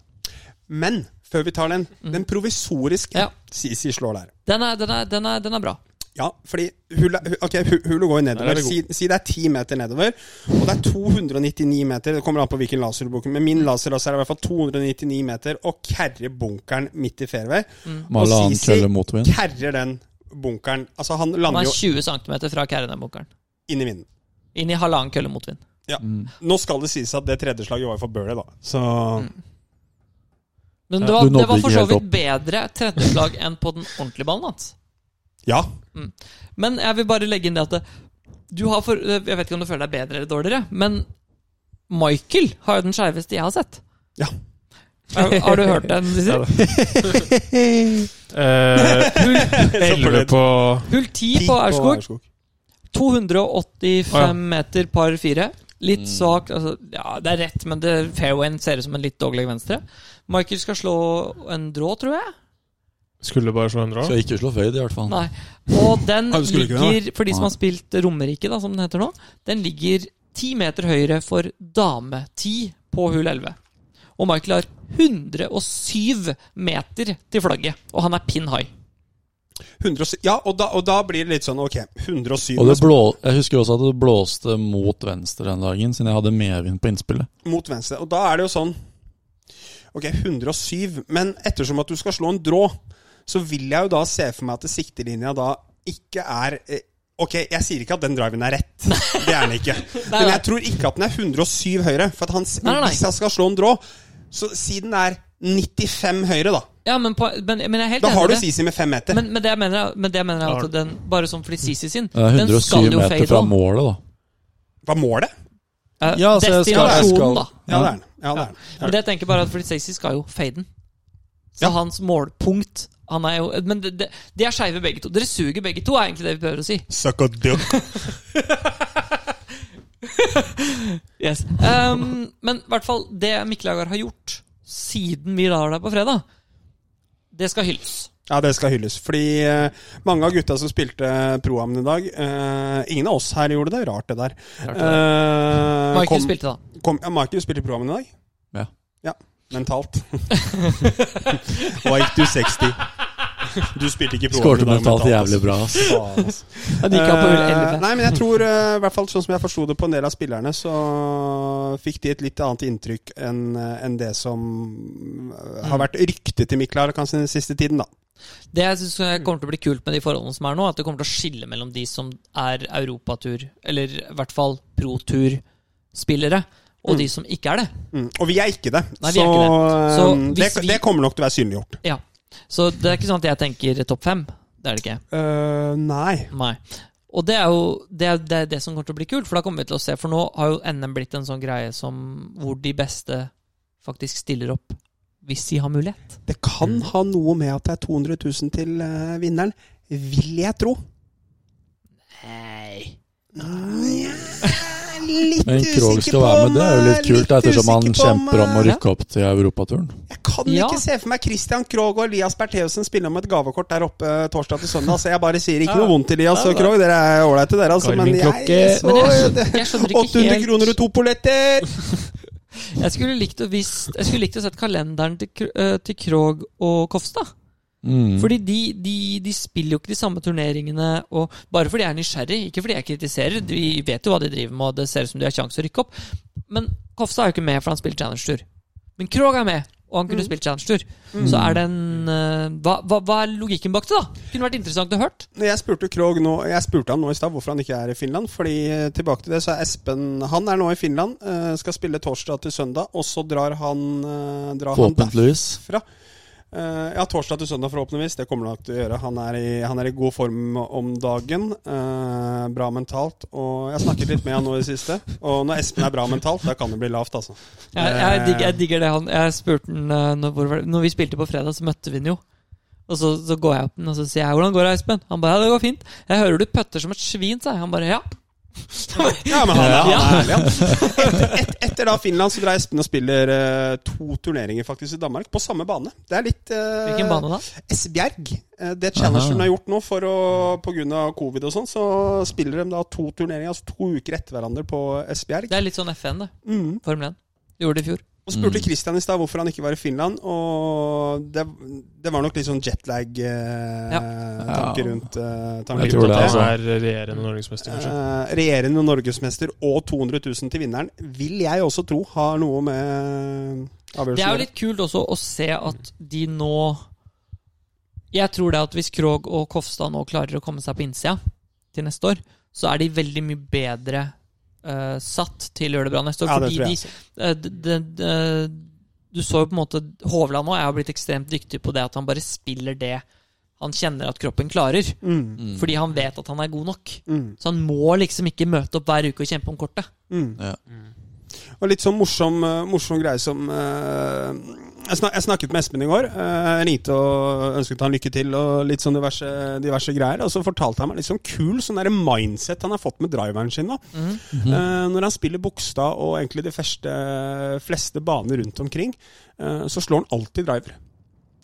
S2: Men før vi tar den, den provisoriske
S1: Mhm. Ja.
S2: Sisi slår der.
S1: Den er, den er, den er, den er bra.
S2: Ja, fordi hula, hu- ok, hu- hula går jo
S5: Der er
S2: nedover.
S5: det god.
S2: Si, si det er 10 meter nedover. Og det er 299 meter. Det kommer an på hvilken laser du bruker. Men
S1: Mm.
S2: min laser også er i hvert fall 299 meter og kerrer bunkeren midt i fairway.
S4: Male
S2: Og
S4: annen
S2: Sisi-
S4: kølle motvind.
S2: Kerrer den bunkeren. Altså, han
S1: Den
S2: lander
S1: er
S2: jo
S1: 20 cm fra Kerrenebunkeren.
S2: inn i vinden.
S1: Inn i halvannen kølle motvind.
S2: Nå skal det sies at det tredje slaget var jo for Burley, da. Så
S1: Mm. Men det
S4: Ja,
S1: var,
S4: du nådde
S1: det var for
S4: ikke
S1: så
S4: helt
S1: vidt
S4: opp.
S1: bedre tredjeslag enn på den ordentlige ballen hans.
S2: ja.
S1: Men jeg vil bare legge inn det at det, du har for, eh, Jeg vet ikke om du føler deg bedre eller dårligere, men Michael har jo den skeiveste jeg har sett.
S2: Ja.
S1: Har, har du hørt den? Sissel?
S5: Elleve Eh, på
S1: Hull 10 på Aurskog. 285
S5: Å, ja.
S1: meter par fire. Litt svak altså, Ja, det er rett, men det, fairwayen ser ut som en litt dårlig venstre. Michael skal slå en drå, tror jeg.
S5: Skulle bare slå 100
S4: Skal ikke slå fade, i hvert fall.
S1: Nei. Og den
S2: Ja, du skulle ikke
S1: ligger, for de som
S4: Nei.
S1: har spilt Romerike, da, som den heter nå, den ligger ti meter høyre for dame 10 på hull 11. Og Michael har 107 meter til flagget, og han er pin high.
S2: 107, ja, og da, og da blir det litt sånn ok, 107
S4: Og det blå, jeg husker også at det blåste mot venstre den dagen, siden jeg hadde medvind på innspillet.
S2: mot venstre. Og da er det jo sånn Ok, 107, men ettersom at du skal slå en drå, så vil jeg jo da se for meg at siktelinja da ikke er eh, Ok, jeg sier ikke at den driven er rett. Det er den ikke. Men
S1: nei.
S2: jeg tror ikke at den er 107 høyre. For at han, s-
S1: Nei, nei, nei.
S2: hvis jeg skal slå en drå, så si den er 95 høyre, da.
S1: Ja, men, på, men, men jeg er helt
S2: Da
S1: enig i
S2: har du
S1: det.
S2: Sisi med fem meter.
S1: Men, men det jeg mener er- men det jeg mener er
S5: Har-
S1: at den Bare sånn fordi Sisi sin,
S4: Det er
S1: den
S4: 107
S1: skal jo
S4: meter
S1: fade
S4: fra
S1: også.
S4: målet, da.
S2: Hva målet?
S1: Eh,
S4: Ja, så jeg skal- jeg
S1: Destinasjonen,
S4: skal-
S1: da.
S2: Ja, det er den. Ja, det er den.
S1: Men det jeg tenker bare at fordi Stacey skal jo fade den. Så
S2: Ja.
S1: hans målpunkt han er jo, Men det, det, de er skeive begge to. Dere suger begge to, er egentlig det vi prøver å si.
S2: Suck a duck.
S1: Yes. Um, men i hvert fall det Mikkel Hagar har gjort siden vi lar deg på fredag, det skal hylles.
S2: Ja, det skal hylles. Fordi eh, mange av gutta som spilte Pro-Am i dag eh, Ingen av oss her gjorde det. Rart, det der. Eh,
S1: Michael
S2: kom-
S1: spilte, da.
S2: Kom, ja, Michael spilte Pro-Am i dag.
S4: Ja.
S2: ja. Mentalt. Hva gikk du 60? Du spilte ikke Pro-Am
S4: Skårte
S2: i dag. altså.
S4: mentalt jævlig bra. ass.
S2: Faen, ass.
S1: Han gikk av på hull
S2: Eh,
S1: 11.
S2: Nei, men jeg tror, eh, i hvert fall sånn som jeg forsto det på en del av spillerne, så fikk de et litt annet inntrykk enn eh, enn det som eh,
S1: Mm.
S2: har vært ryktet til Mikkel Arakansen den siste tiden, da.
S1: Det jeg synes kommer til å bli kult med de forholdene som er nå, at det kommer til å skille mellom de som er europatur, eller i hvert fall pro-tur-spillere, og de som ikke er det.
S2: Mm. Og vi er ikke det.
S1: Nei, vi
S2: så
S1: er ikke det. Så
S2: um, det,
S1: hvis vi-
S2: det kommer nok til å være synliggjort.
S1: Ja. Så det er ikke sånn at jeg tenker topp fem. Det er det ikke.
S2: Eh, nei.
S1: Nei. Og det er jo det, er, det, er det som kommer til å bli kult, for da kommer vi til å se. For nå har jo NM blitt en sånn greie som hvor de beste faktisk stiller opp hvis de har mulighet.
S2: Det kan ha noe med at det er 200 000 til eh, vinneren, vil jeg tro.
S1: Nei.
S2: Nja, Litt
S4: Men Krog
S2: usikker
S4: skal
S2: på
S4: være med, det er jo
S2: om,
S4: litt kult, ettersom han
S2: usikker på
S4: kjemper om å
S1: Ja.
S4: rykke opp til europaturen.
S2: Jeg kan
S1: Ja.
S2: ikke se for meg Christian Krog og Elias Bertheussen spille om et gavekort der oppe eh, torsdag til søndag, så jeg bare sier ikke noe vondt, Elias og Krog. Dere er ålreite, dere, altså. Men jeg,
S5: Garmin-klokke.
S2: så,
S1: Men jeg skjønner, jeg skjønner ikke
S2: 800
S1: helt
S2: kroner og to polletter!
S1: Jeg skulle likt å, visst, jeg skulle likt å sett kalenderen til, Kr- eh, til Krog og Kofstad.
S4: Mm.
S1: Fordi de, de, de spiller jo ikke de samme turneringene. Og bare fordi jeg er nysgjerrig, ikke fordi jeg kritiserer. Vi vet jo hva de driver med, og det ser ut som de har sjanse til å rykke opp. Men Kofstad er jo ikke med, for han spiller Challenge-tur. Men Krog er med, og han kunne spilt Challenge-tur. Så er det en eh, hva, hva, hva er logikken bak det, da? Kunne vært interessant å hørt.
S2: Når Jeg spurte Krog nå, jeg spurte han nå i stad hvorfor han ikke er i Finland. Fordi eh, tilbake til det, så er Espen Han er nå i Finland, eh, skal spille torsdag til søndag, og så drar han, eh, drar han
S4: Forhåpentligvis.
S2: derfra. Eh, ja, torsdag til søndag, forhåpentligvis. Det kommer han nok til å gjøre. Han er i, han er i god form om dagen. eh, bra mentalt. Og jeg har snakket litt med han nå i det siste. Og når Espen er bra mentalt, da kan det bli lavt, altså.
S1: Jeg, jeg, digger, jeg digger det han Jeg spurte han eh, når, hvor, var det- når vi spilte på fredag, så møtte vi han jo. Og så, så går jeg opp den, og så sier jeg 'Hvordan går det, Espen?' Han bare 'Ja, det går fint'. 'Jeg hører du putter som et svin', sa jeg. Han bare 'Ja,
S2: Ja, men han, er-
S1: Ja.
S2: han er ærlig, han. Etter, et, etter da Finland så drar Espen og spiller eh, to turneringer faktisk i Danmark, på samme bane. Det er litt eh,
S1: Hvilken bane da?
S2: Esbjerg. Eh, Det
S4: Aha.
S2: Challengeren har gjort nå for å, på grunn av covid og sånn, så spiller de da to turneringer, altså to uker etter hverandre på Esbjerg.
S1: Det er litt sånn FN, det.
S2: Mm.
S1: Formel 1. Gjorde det i fjor.
S2: Og spurte
S4: Mm.
S2: Christian i stad hvorfor han ikke var i Finland, og det, det var nok litt sånn jetlag-tanke
S4: Ja.
S2: rundt eh, tanker
S4: Jeg
S5: Jeg
S4: tror
S5: tror
S2: rundt
S4: det,
S5: at
S4: altså.
S5: han er regjerende norgesmester, kanskje.
S2: Eh, regjerende norgesmester og 200 000 til vinneren vil jeg også tro har noe med
S1: Det
S2: avgjørelsen
S1: er
S2: å
S1: jo
S2: gjøre.
S1: litt kult også å se at de nå Jeg tror det at hvis Krog og Kofstad nå klarer å komme seg på innsida til neste år, så er de veldig mye bedre eh, satt til å gjøre det bra neste år.
S2: Ja, det
S1: fordi
S2: tror
S1: de,
S2: jeg.
S1: eh, d- d- d- du så jo på en måte Hovland nå er jo blitt ekstremt dyktig på det at han bare spiller det han kjenner at kroppen klarer.
S2: Mm,
S4: Mm.
S1: Fordi han vet at han er god nok.
S2: mm,
S1: Så han må liksom ikke møte opp hver uke og kjempe om kortet.
S2: mm.
S4: Ja.
S2: Og litt sånn morsom, eh, morsom greie som eh, jeg, snak, jeg snakket med Espen i går. eh, Jeg ringte og ønsket han lykke til og litt sånn diverse, diverse greier. Og så fortalte han meg litt sånn kul sånn derre mindset han har fått med driveren sin nå.
S1: Mm.
S2: Eh, Når han spiller Bogstad og egentlig de første, fleste baner rundt omkring, eh, så slår han alltid driver.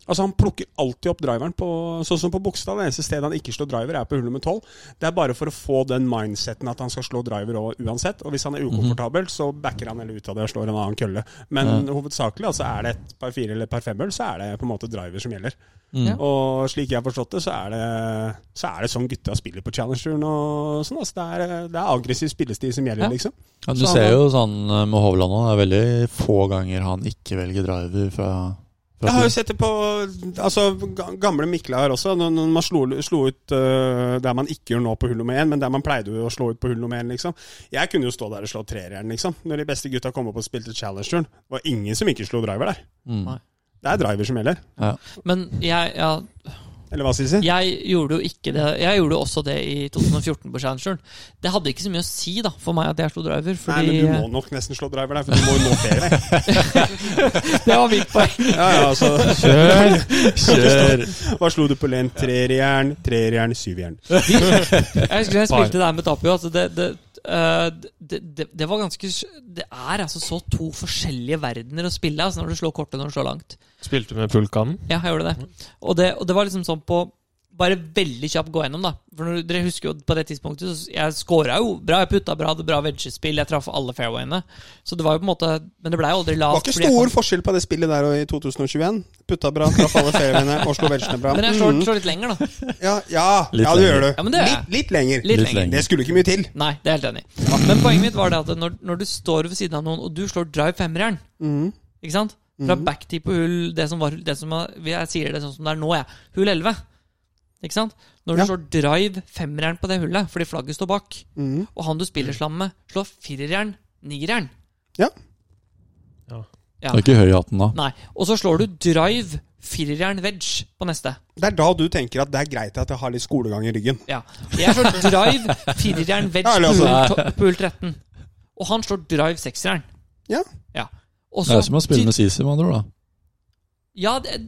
S2: Altså Han plukker alltid opp driveren, på, sånn som på Bogstad. Det eneste stedet han ikke slår driver, er på hull nummer 12. Det er bare for å få den mindseten at han skal slå driver også, uansett. Og hvis han er ukomfortabel, så backer han eller ut av det og slår en annen kølle. Men hovedsakelig altså er det et par fire eller par femmer, så er det på en måte driver som gjelder.
S4: Mm.
S2: Og slik jeg har forstått det, så er det, så er det sånn gutta spiller på Challengeren og sånn. Altså det, er, det er aggressiv spillestil som
S1: Ja.
S2: gjelder, liksom.
S4: Ja, du
S2: Så han
S4: ser
S2: har-
S4: jo sånn eh, med Hovland nå, det er veldig få ganger han ikke velger driver fra, fra
S2: Jeg har jo
S4: tid.
S2: sett det på altså, ga- gamle Mikla her også. Når når man slo, slo ut øh, der man ikke gjør nå på hull nummer én, men der man pleide å slå ut på hull nummer én, liksom. Jeg kunne jo stå der og slå trerjern, liksom. Når de beste gutta kom opp og spilte Challengeren. Det var ingen som ikke slo driver der.
S4: Mm.
S1: Nei.
S2: Det er driver som gjelder.
S1: Men jeg, ja,
S2: Eller hva, Sisi?
S1: jeg gjorde jo ikke det Jeg gjorde jo også det i 2014 på Challengeren. Det hadde ikke så mye å si da for meg at jeg slo driver,
S2: Nei,
S1: fordi eh,
S2: men du må nok nesten slå driver der, for du må jo nå flere.
S1: det var mitt poeng.
S2: Ja, ja, altså.
S5: Kjør! Kjør!
S2: Hva slo du på len? Trerjern, trerjern, syvjern.
S1: Jeg husker jeg spilte der med Tapio. at det, det, eh, det, det, det var ganske Det er altså så to forskjellige verdener å spille altså når du slår kortet når du slår langt.
S5: Spilte med pulkanen.
S1: Ja, jeg gjorde det. Og det, og det var liksom sånn på Bare veldig kjapt gå gjennom, da. For når, dere husker jo på det tidspunktet så Jeg scora jo bra, jeg putta bra, hadde bra wedgespill, jeg traff alle fairwayene. Så det var jo på en måte Men det blei jo aldri
S2: Det var
S1: lavt.
S2: ikke
S1: fordi jeg
S2: stor forskjell på det spillet der og i 2021. Putta bra, traff alle feriene og slo velsjene bra.
S1: kan- Men jeg slår, slår litt lenger, da.
S2: Ja, ja,
S4: Litt
S2: ja det
S4: lenger.
S2: gjør du.
S1: Ja, men det gjør jeg.
S2: litt, litt lenger.
S1: Litt,
S4: Litt
S1: lenger.
S4: lenger.
S2: Det skulle ikke mye til.
S1: Nei, det er jeg helt enig i. Men poenget mitt var det at når, når du står ved siden av noen, og du slår drive femmerjern,
S2: Mhm.
S1: ikke sant? Fra backtee på hull det som var, det som var, Jeg sier det sånn som det er nå, jeg. Hull 11. Ikke sant? Når du
S2: Ja.
S1: slår drive femmeren på det hullet fordi flagget står bak,
S2: Mhm.
S1: og han du spiller slam med, slår fireren, nieren
S2: Ja.
S5: Ja.
S1: Ja.
S4: Det er ikke høy i hatten da.
S1: Nei. Og så slår du drive fireren wedge på neste.
S2: Det er da du tenker at det er greit at jeg har litt skolegang i ryggen.
S1: Ja. Jeg slår drive fireren wedge
S2: Ja, eller
S1: på
S2: altså-
S1: hull to- på hull 13. Og han slår drive sekseren.
S2: Ja.
S1: ja. Og
S4: Det er som å spille med Sisi, med andre ord. da.
S1: Ja, det,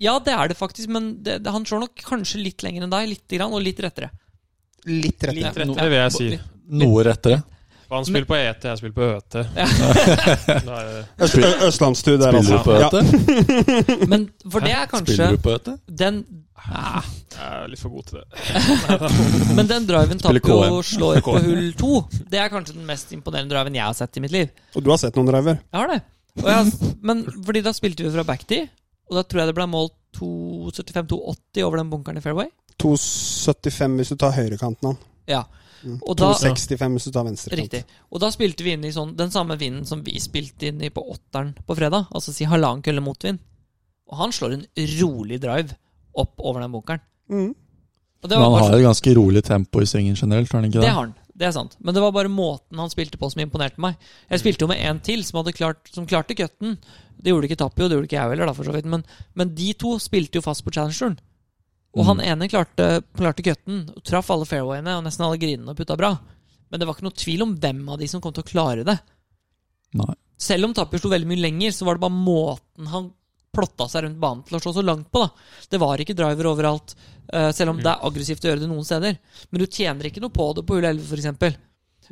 S1: ja, det er det faktisk, men det, det, han slår nok kanskje litt lenger enn deg, litt grann, og litt rettere.
S2: Litt rett.
S1: Litt
S5: rettere, vil jeg si.
S4: Noe rettere.
S5: Han spiller på ET, jeg spiller på ØT. Da er det-
S2: Øst, ø, Østlandstur der,
S4: Spiller
S2: altså.
S4: du på
S2: Ja.
S4: øte?
S1: Men for det er kanskje
S4: Spiller du på øte?
S1: den ah,
S5: jeg er litt for god til det.
S1: Men den driven
S4: Spiller KM.
S1: Tapio slår på hull to, det er kanskje den mest imponerende driven jeg har sett i mitt liv.
S2: Og du har sett noen driver?
S1: Jeg har det. Og jeg, har- men fordi da spilte vi fra backtee, og da tror jeg det ble målt 275-280 over den bunkeren i fairway.
S2: 2,75 hvis du tar høyrekanten han.
S1: Ja. Og da,
S2: 2,65 hvis du tar venstrekanten.
S1: riktig. Og da spilte vi inn i sånn, den samme vinden som vi spilte inn i på åtteren på fredag. Altså si halvannen kølle motvind. Og han slår en rolig drive opp over den bunkeren.
S2: Mm.
S1: Og det
S4: Men
S1: var
S4: han
S1: bare
S4: har et ganske rolig tempo i svingen generelt, har han ikke
S1: Det
S4: det?
S1: har han. Det er sant. Men det var bare måten han spilte på som imponerte meg. Jeg spilte jo med en til som, hadde klart, som klarte cutten. Det gjorde ikke Tapio, det gjorde ikke jeg heller, da, for så vidt. Men, men de to spilte jo fast på challengeren. Og han ene klarte, klarte cutten, og traff alle fairwayene og nesten alle grinene og putta bra. Men det var ikke noe tvil om hvem av de som kom til å klare det.
S4: Nei.
S1: Selv om Tapio slo veldig mye lenger, så var det bare måten han plotta seg rundt banen til å slå så langt på. da Det var ikke driver overalt, eh, selv om det er aggressivt å gjøre det noen steder. Men du tjener ikke noe på det på hull 11, f.eks.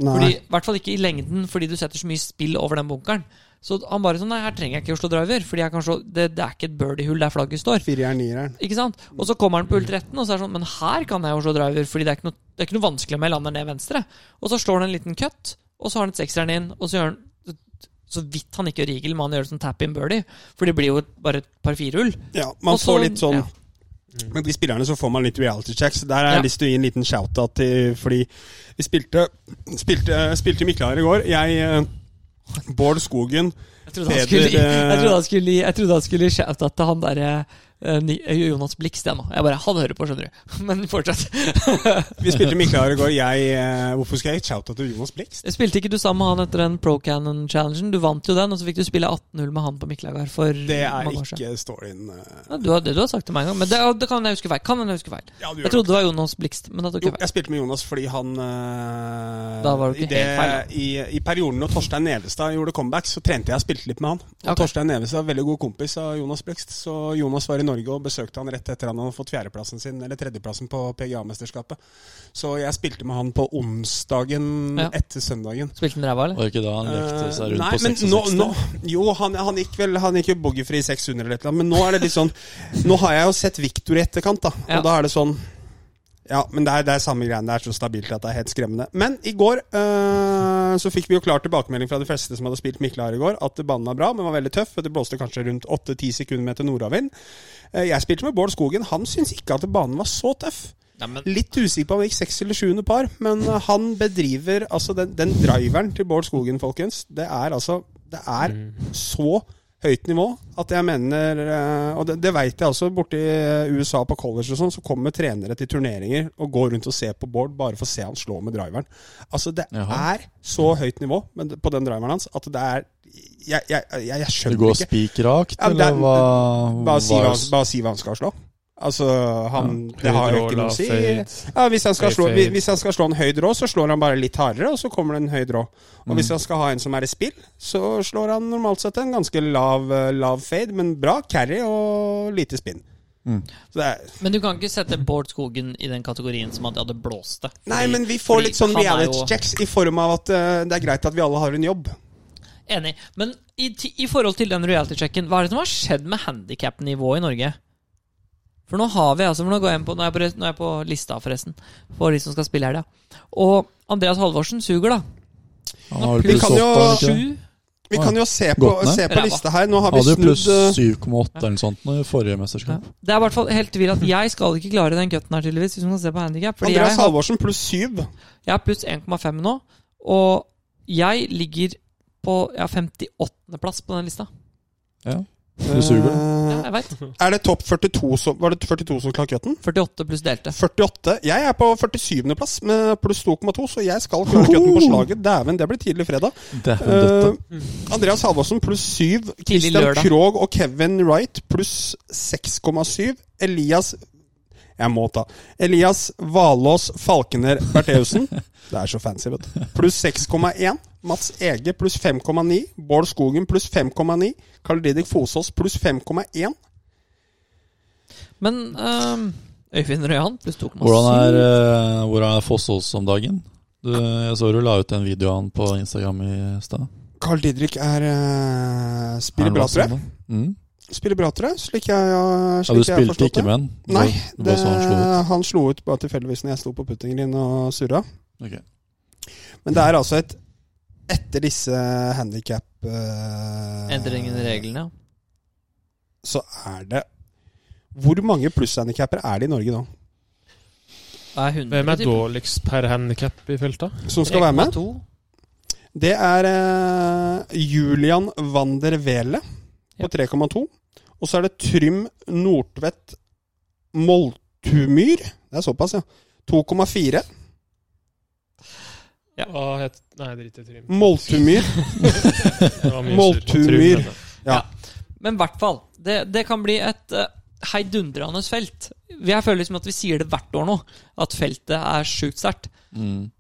S2: Nei.
S1: Fordi, I hvert fall ikke i lengden, fordi du setter så mye spill over den bunkeren. Så han bare sånn Nei, her trenger jeg ikke Oslo Driver, fordi jeg kan slå det, det er ikke et birdie-hull der flagget står.
S2: Firejern, nierjern.
S1: Ikke sant? Og så kommer han på hull 13, og så er det sånn Men her kan jeg Oslo Driver, fordi det er ikke noe, det er ikke noe vanskelig om jeg lander ned venstre. Og så slår han en liten cut, og så har han et sekseren inn, og så gjør han så vidt han ikke gjør eagle, men han gjør det som tap-in birdie. For det blir jo bare et par firehull.
S2: Ja, man
S1: Og så-
S2: får litt sånn
S1: ja.
S2: Med de spillerne så får man litt reality checks. Der har jeg
S1: Ja.
S2: lyst til å gi en liten shout-out til Fordi vi spilte Spilte, spilte i Miklar i går. Jeg eh, Bård Skogen
S1: Jeg trodde han
S2: Peder,
S1: skulle, jeg
S2: eh,
S1: trodde han skulle, jeg trodde han skulle shoute til han derre eh, Jonas Blix, det nå. Jeg bare Han hører på, skjønner du. Men fortsett.
S2: Vi spilte i Miklar i går. Jeg eh, Hvorfor skal jeg gi shout-out til Jonas Blikst?
S1: Spilte ikke du sammen med han etter den Pro Cannon-challengen? Du vant jo den, og så fikk du spille 18-hull med han på Miklagard for
S2: Det er
S1: mange år siden.
S2: ikke storyen eh.
S1: Ja, du har, det du har sagt til meg en gang, men det, det kan jeg huske feil. Kan jeg huske feil.
S2: Ja,
S1: Jeg
S2: du gjør det.
S1: trodde det var Jonas Blix, men da tok
S2: Jo,
S1: jeg feil.
S2: jeg spilte med Jonas fordi han eh,
S1: Da var det ikke
S2: i, det,
S1: helt feil,
S2: i, I perioden når Torstein Nevestad gjorde comeback, så trente jeg og spilte litt med han. Og
S1: Ok.
S2: Torstein Nevestad er veldig god kompis av Jonas Blikst, så Jonas var i Norge og besøkte han rett etter han hadde fått fjerdeplassen sin, eller tredjeplassen på PGA-mesterskapet. Så jeg spilte med han på onsdagen
S1: Ja.
S2: etter søndagen.
S1: Spilte den ræva, eller?
S4: Var det ikke da han lekte seg rundt
S2: Eh, Nei,
S4: på
S2: men
S4: 66?
S2: nå, nå, jo, han, han gikk vel Han gikk jo boogiefree 600 eller et eller annet, men nå er det litt sånn Nå har jeg jo sett Victor i etterkant, da.
S1: Ja.
S2: Og da er det sånn Ja, men det er, det er samme greiene. Det er så stabilt at det er helt skremmende. Men i går øh, så fikk vi jo klar tilbakemelding fra de fleste som hadde spilt Miklar i går, at banen var bra, men var veldig tøff. og Det blåste kanskje rundt 8-10 sekunder med til nordavind. Eh, Jeg spilte med Bård Skogen. Han syntes ikke at banen var så tøff.
S1: Nei, men
S2: Litt usikker på om det gikk seks eller sjuende par, men eh, han bedriver altså den, den driveren til Bård Skogen, folkens. Det er altså Det er
S4: Mm.
S2: så høyt nivå at jeg mener eh, Og det, det veit jeg også. Borti eh, USA på college og sånn, så kommer trenere til turneringer og går rundt og ser på Bård bare for å se han slå med driveren. Altså, det
S4: Jaha.
S2: er så høyt nivå men det- på den driveren hans at det er Jeg, jeg, jeg, jeg
S4: Det
S2: skjønner
S4: går
S2: ikke.
S4: spikrakt,
S2: Ja, men det er-
S4: eller hva,
S2: Bare si,
S4: hva-
S2: hva, bare si hva han skal slå. Altså, han Det har jo
S5: Høyde,
S2: ikke noe
S5: lav,
S2: å si.
S5: fade.
S2: Ja, hvis han, skal
S5: Fade,
S2: slå,
S5: fade.
S2: hvis han skal slå en høy rå, så slår han bare litt hardere, og så kommer det en høy rå. Og
S4: Mm.
S2: hvis han skal ha en som er i spill, så slår han normalt sett en ganske lav, eh, lav fade, men bra carry og lite spinn.
S4: Mm.
S2: Så det er,
S1: Men du kan ikke sette Bård Skogen i den kategorien som at ja, det blåste.
S2: nei,
S1: Fordi-
S2: men vi får
S1: fordi
S2: litt sånn
S1: han er
S2: reality
S1: jo-
S2: checks i form av at eh, det er greit at vi alle har en jobb.
S1: Enig. Men i, ti- i forhold til den reality-checken, hva er det som har skjedd med handikap-nivået i Norge? For nå har vi altså, for nå går jeg inn på, nå er jeg på, res- nå er jeg på lista, forresten, for de som skal spille i helga. Og Andreas Halvorsen suger, da.
S4: Han har vel
S2: Vi
S4: pluss
S2: kan
S4: åtte,
S2: jo-
S4: har han ikke det?
S1: Sju.
S2: Vi
S4: Ah,
S2: kan jo se på,
S4: Godt ned.
S2: se på
S1: Ræva.
S2: lista her. Nå har vi
S4: Hadde jo
S2: snudd
S4: pluss
S2: eh,
S4: 7,8 eller noe sånt nå i forrige
S1: Ja.
S4: mesterskap.
S1: Det er i hvert fall helt tvil at jeg skal ikke klare den cutten her, tydeligvis, hvis man ser på handikap. Fordi jeg
S2: Andreas
S1: har,
S2: Halvorsen pluss syv.
S1: jeg er pluss 1,5 nå, og jeg ligger på ja, 58.-plass på den lista.
S4: Ja. Du suger, da.
S1: Ja,
S2: Eh,
S1: jeg veit.
S2: Er det topp 42 som Var det 42 som knakk cutten?
S1: 48 pluss delte.
S2: 48. Jeg er på 47. plass med pluss 2,2, så jeg skal klare cutten på slaget. Dæven, det blir tidlig fredag.
S4: Dæven døtte.
S2: Eh, Andreas Halvorsen pluss 7. Christian
S1: lørdag.
S2: Krogh og Kevin Wright pluss 6,7. Elias Jeg må ta. Elias Valås Falkener Bertheussen. Det er så fancy, vet du. Pluss 6,1. Mats Ege pluss 5,9. Bård Skogen pluss 5,9. Karl Didrik Fosås pluss 5,1.
S1: Men øhm, Øyvind Røyan pluss 2,7.
S4: Hvordan er, eh, hvordan er Fossås om dagen? Du, jeg så du la ut en video av han på Instagram i stad.
S2: Carl Didrik er eh, spiller
S4: Er
S2: bra,
S4: det
S2: tror jeg.
S4: sånn, da? Mm.
S2: spiller bra, tror jeg. Slik jeg, ja,
S4: Ja, du
S2: slik jeg har
S4: spilte
S2: forstått
S4: ikke
S2: det.
S4: med han? Det
S2: Nei,
S4: var- det
S2: det,
S4: var sånn han slo ut.
S2: han slo ut bare tilfeldigvis når jeg sto på puttingen din og surra.
S4: Ok.
S2: Men det er altså et Etter disse handikap... Uh,
S1: Endringen i reglene, ja.
S2: Så er det Hvor mange plusshandikappere er det i Norge nå?
S1: Det er 100,
S5: Hvem er
S1: typ.
S5: dårligst per handikap i felta?
S2: Som skal være med?
S1: 3,2.
S2: Det er eh, Julian Wander Wele på 3,2. Og så er det Trym Nordtvedt Moltumyr. Det er såpass, ja. 2,4.
S1: Ja.
S5: Hva het Nei, drit i
S2: Mm.
S5: Trym.
S2: Moltumyr
S5: Det var mye
S2: Moltumyr.
S5: surr. Trym, mener jeg.
S1: Men i hvert fall. Det, det kan bli et uh, heidundrende felt. Jeg føler liksom at vi sier det hvert år nå, at feltet er sjukt sterkt.
S4: Mm.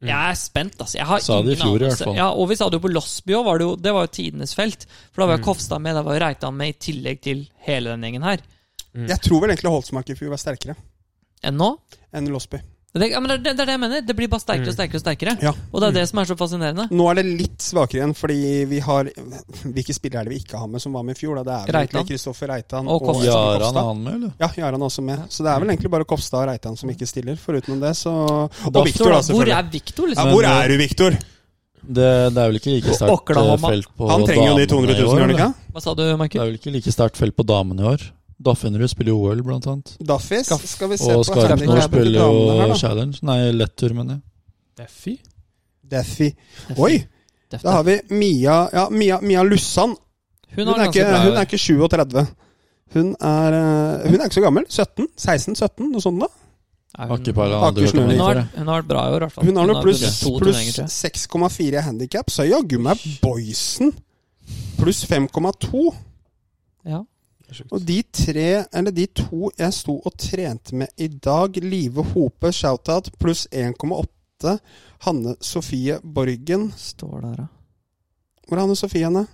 S5: Mm.
S1: Jeg er spent, altså. Jeg har
S4: Sa det i
S1: ingen
S4: fjor i hvert
S1: anelse.
S4: fall.
S1: Ja, og vi sa det jo på Losby òg, var det, jo- det var jo tidenes felt. For da var jo
S5: Mm.
S1: Kofstad med, da var jo Reitan med, i tillegg til hele den gjengen her.
S5: Mm.
S2: Jeg tror vel egentlig Holtsmark i fjor var sterkere
S1: Enn nå.
S2: enn Losby.
S1: Det, ja, men det, det er det jeg mener. Det blir bare sterkere
S2: Mm.
S1: og sterkere. Og sterkere
S2: Ja.
S1: Og det er det som er så fascinerende.
S2: Nå er det litt svakere igjen, fordi vi har Hvilke spillere er det vi ikke har med som var med i fjor? Da? Det er vel
S1: Reitan.
S2: egentlig Kristoffer Reitan
S1: Og Kofstad.
S4: Jaran er han med, eller?
S2: Ja, Jaran er også med. Så det er vel egentlig bare Kopstad og Reitan som ikke stiller. Forutenom det, så Og
S1: Da-
S2: Viktor, da,
S1: Hvor
S2: selvfølgelig.
S1: er Viktor,
S2: Ja,
S1: liksom?
S2: hvor er du, Viktor?
S4: Det, det er vel ikke like sterkt eh,
S1: Oklahoma.
S4: felt på
S2: Han trenger jo de 200 000, gjør han
S4: damene i år,
S2: ikke?
S4: eller?
S1: Hva sa du,
S4: Det
S1: Markus?
S4: er vel ikke like sterkt felt på damene i år. Daffinrud spiller jo OL, blant annet.
S2: Daffis skal vi se
S4: Og
S2: på
S4: Skarpnor
S2: handicap-
S4: spiller
S2: damene her,
S4: jo
S2: da.
S4: Challenge. Nei, lettur, mener jeg.
S5: Daffy?
S2: Daffy. Oi,
S1: Deft,
S2: da har vi Mia Ja, Mia, Mia
S1: Hun
S2: Lussan. Hun
S1: har
S2: er,
S1: ganske
S2: ikke,
S1: bra
S2: hun er ikke 37. Hun er, eh, hun er ikke så gammel. 17? 16-17? Noe sånt da.
S1: Er hun-
S4: Akkerpara
S2: Aker
S4: hadde hørt om
S2: Snøhvit.
S1: Hun har,
S4: det.
S1: vært- hun har vært bra i år, i hvert fall.
S2: Hun har noe pluss
S1: vunnet to
S2: pluss
S1: turneringer, tror jeg.
S2: 6,4 i handikap, så jaggu meg Boysen pluss 5,2.
S1: Ja.
S2: Og de tre, eller de to jeg sto og trente med i dag, Live Hope, shoutout, pluss 1,8. Hanne Sofie Borgen.
S1: Står der, ja.
S2: Hvor er Hanne Sofie henne?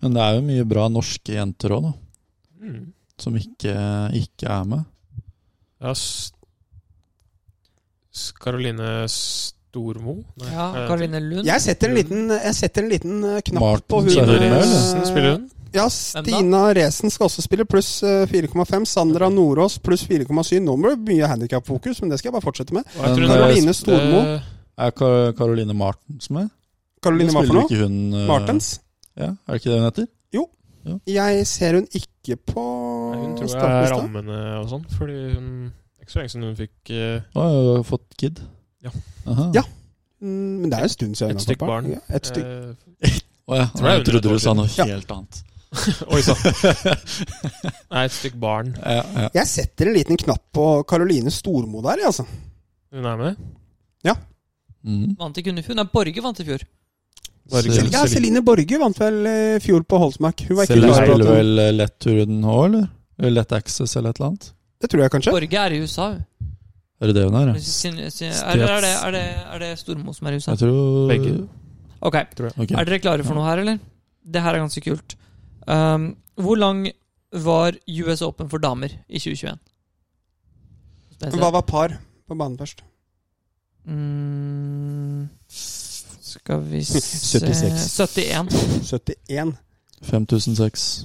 S4: Men det er jo mye bra norske jenter òg, da.
S5: Mm.
S4: Som ikke, ikke er med.
S5: Ja, S- S- Caroline Stormo? Nei,
S1: ja
S5: eh,
S1: Karoline Lund.
S2: Jeg setter en liten, jeg setter en liten eh, knapp
S4: Martin
S2: på
S4: Sørensen,
S2: eh,
S5: Sørensen spiller hun.
S2: Ja,
S1: Hvem da?
S2: Stina Resen skal også spille, pluss eh, 4,5. Sandra Nordås pluss 4,7. Nå blir det mye handikapfokus, men det skal jeg bare fortsette med.
S5: Og jeg tror
S4: Men,
S5: hun er-
S2: Caroline Stormo.
S5: Eh,
S4: Er Kar Caroline Martens med?
S2: Caroline, hva for
S4: Spiller
S2: noe?
S4: ikke hun eh,
S2: Martens?
S4: Ja, Er det ikke det hun heter?
S2: Jeg ser hun ikke på
S5: Nei, Hun tror jeg er
S2: startlista.
S5: rammene og sånn, fordi hun Det er ikke så lenge siden hun fikk eh,
S4: Å, hun har fått kid.
S5: Ja.
S4: Aha.
S2: Ja. Mm, Men det er en stund siden.
S5: et
S2: hun har
S5: stykk
S2: fått
S5: barn.
S2: Ja, et stykk.
S5: Eh,
S4: Å ja.
S5: Tror jeg
S4: Jeg trodde du sa noe
S2: Ja.
S4: helt annet.
S5: Oi sann. Nei, et stykk barn.
S4: Ja, ja.
S5: Eh.
S2: Jeg setter en liten knapp på Caroline Stormo der, jeg, altså.
S5: Hun er med.
S4: Mm.
S1: Vant ikke hun i fjor? Nei, Borge vant i fjor.
S4: Bare
S5: Sel-
S4: ikke-
S2: Ja, Celine Borge vant vel eh, i fjor på Holsmark. Hun var ikke
S4: Selv
S2: klar over
S4: spiller
S2: at hun-
S4: vel eh, Letturen òg, eller? Eller Lett Access eller et eller annet?
S2: Det tror jeg kanskje.
S1: Borge er i USA. hun.
S4: Er det det hun er? ja?
S1: Sin, sin, er, er, det, er, det, er det Stormo som er i USA?
S4: Jeg tror
S5: Begge.
S1: Ok,
S4: Ok.
S1: Er dere klare for noe her, eller? Det her er ganske kult. Um, hvor lang var US Open for damer i 2021? Spesielt.
S2: Hva var par på banen først?
S1: Mm, skal vi se
S2: 76.
S1: 71.
S2: 71.
S4: 5006.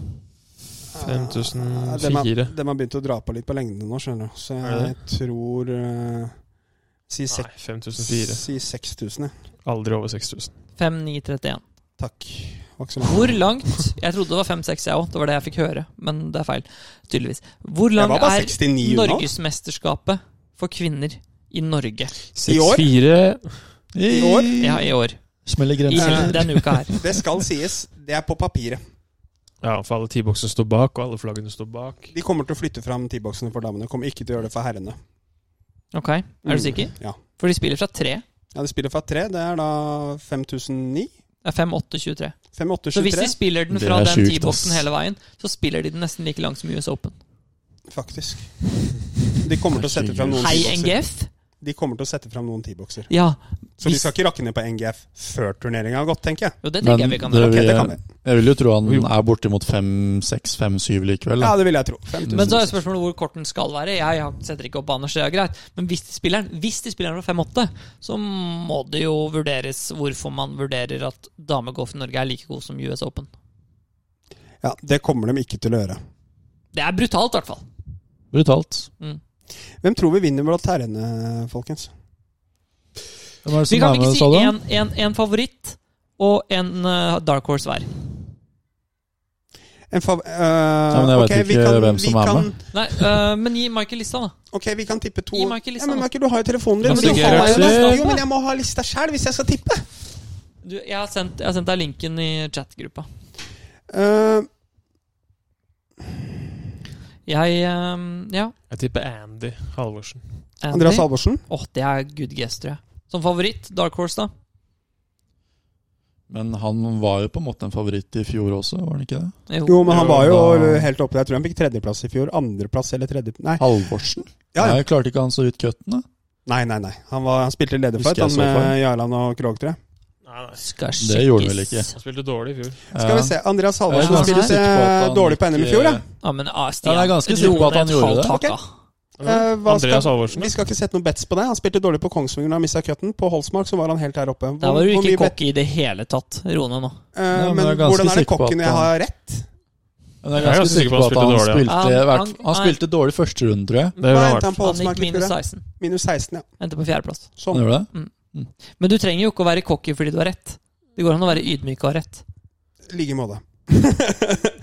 S2: Ah,
S5: 5004.
S2: De har, dem har begynt å dra på litt på lengden nå, skjønner du. Så
S5: Er
S2: jeg
S5: det
S2: tror eh, si, sek,
S5: Nei, 5004.
S2: si 6000, jeg.
S5: Aldri over 6000.
S1: 5931.
S2: Takk. Var ikke så mange.
S1: Hvor langt Jeg trodde det var 5-6, jeg òg. Det var det jeg fikk høre. Men det er feil. Tydeligvis. Hvor
S2: Jeg
S1: lang
S2: var bare
S1: er
S2: 69 unna.
S1: Norgesmesterskapet for kvinner i Norge
S2: I år?
S5: 64
S2: I år?
S1: ja, i år?
S4: Smeller
S1: I
S4: grensen.
S1: denne uka her.
S2: Det skal sies. Det er på papiret.
S5: Ja, for alle T-boksene står bak, og alle flaggene står bak.
S2: De kommer til å flytte fram T-boksene for damene. Kommer ikke til å gjøre det for herrene.
S1: Ok, Er du
S2: Mm.
S1: sikker?
S2: Ja.
S1: For de spiller fra 3.
S2: Ja, De spiller fra tre. Det er da 5009.
S1: Det er 5, 8, 23. Så hvis de
S2: 5823,
S1: spiller den
S4: Det
S1: fra
S4: er
S1: den
S4: sjukt,
S1: T-boksen
S4: ass.
S1: hele veien, så spiller de den nesten like langt som US Open.
S2: faktisk. De kommer til å sette fram noen
S1: Hei,
S2: T-bokser.
S1: NGF!
S2: De kommer til å sette fram noen T-bokser.
S1: Ja.
S2: Så de skal ikke rakke ned på NGF før turneringa har gått, tenker jeg.
S1: Jo, det
S4: Men
S1: tenker jeg vi kan
S4: det
S1: gjøre.
S2: Ok,
S4: vi-
S2: det kan vi.
S4: Jeg vil jo tro han er bortimot 5-6-5-7 likevel.
S2: Ja,
S4: Da.
S2: det vil jeg tro. 5000.
S1: Men så er jo spørsmålet hvor kort den skal være. Jeg har- setter ikke opp Anders, det er greit. Men hvis de spiller den Hvis de spiller den fra 5-8, så må det jo vurderes hvorfor man vurderer at damegolf i Norge er like god som US Open.
S2: Ja, Det kommer de ikke til å gjøre.
S1: Det er brutalt, i hvert fall.
S4: Brutalt.
S2: Hvem tror vi vinner blant herrene, folkens?
S4: Hvem er det som
S1: Vi kan
S4: er
S1: ikke
S4: med,
S1: si
S4: sa du?
S1: en, en, en favoritt og en eh, dark horse hver.
S2: En fav øh,
S4: men jeg
S2: ok,
S4: vet
S2: vi
S4: ikke
S2: kan-
S4: hvem
S2: vi
S4: som er
S2: kan,
S4: med.
S1: Nei, eh, men gi Michael lista, da.
S2: Ok, vi kan tippe to.
S1: Gi meg ikke lista
S2: ja, men
S1: nå.
S2: Michael, du har jo telefonen din.
S5: Kan
S2: Men du
S5: stikke
S2: har jo
S5: Røksel.
S2: den. Jo, men jeg må ha lista sjæl hvis jeg skal tippe.
S1: Du, jeg, har sendt, jeg har sendt deg linken i chatgruppa.
S2: Øh,
S1: Jeg eh, Ja.
S5: Jeg tipper Andy Halvorsen.
S1: Andy.
S2: Andreas Halvorsen.
S1: Åh, det er good guess, tror jeg. Som favoritt, dark horse, da?
S4: Men han var jo på en måte en favoritt i fjor også, var han ikke det?
S2: Jo, men han var jo
S4: da-
S2: helt oppe der. Jeg tror han fikk tredjeplass i fjor. Andreplass eller tredje... Nei,
S4: Halvorsen?
S2: ja, ja.
S4: Nei, klarte ikke han så ut cutten, da?
S2: nei, nei, nei. Han, var, han spilte
S4: Husker
S2: lederfight
S4: jeg
S2: han
S4: så for.
S2: med Jarland og Krog, tror jeg.
S5: Nei, nei.
S1: Skal
S4: Det gjorde han vel
S1: sjekkes.
S5: Han spilte dårlig i fjor.
S2: Skal vi se. Andreas Halvorsen
S1: Ja,
S2: ja,
S1: han er
S2: spilte
S4: sikker på at
S2: eh,
S4: han
S2: dårlig på
S4: ikke-
S2: NM i fjor, ja.
S1: Ja, men ah,
S4: Ja,
S1: Stian,
S4: jeg er ganske sikker på at han gjorde det.
S2: Ok.
S1: Okay.
S2: Eh, hva
S5: Andreas
S2: skal,
S5: Halvorsen.
S2: vi skal ikke sette noen bets på det. Han spilte dårlig på Kongsvinger og mista cutten. På Holsmark så var han helt her oppe.
S1: Der var du
S2: hvor mye
S1: ikke
S2: bet-
S1: cocky i det hele tatt, Rone, nå.
S2: Eh,
S4: Ja, men
S2: men
S4: jeg er ganske
S2: hvordan er det
S4: sikker på at
S2: kokken jeg
S4: han-
S2: har rett?
S4: Men jeg er
S5: Jeg er
S4: ganske sikker på at han
S5: dårlig, ja.
S4: spilte,
S1: Han-
S4: hvert-
S1: han-
S4: han spilte dårlig første runde, tror jeg.
S5: Det
S2: Hva
S5: gjør han i
S2: endte
S5: hvert
S2: han
S5: fall.
S2: på
S1: Han gikk
S2: Holsmark?
S1: minus
S2: Victoria?
S1: 16.
S2: Minus 16, ja.
S1: Endte på fjerdeplass.
S4: Han
S2: Sånn.
S4: gjorde det.
S1: Men du trenger jo ikke å være cocky fordi du har rett. Det går an å være ydmyk og ha rett.
S2: Like måte.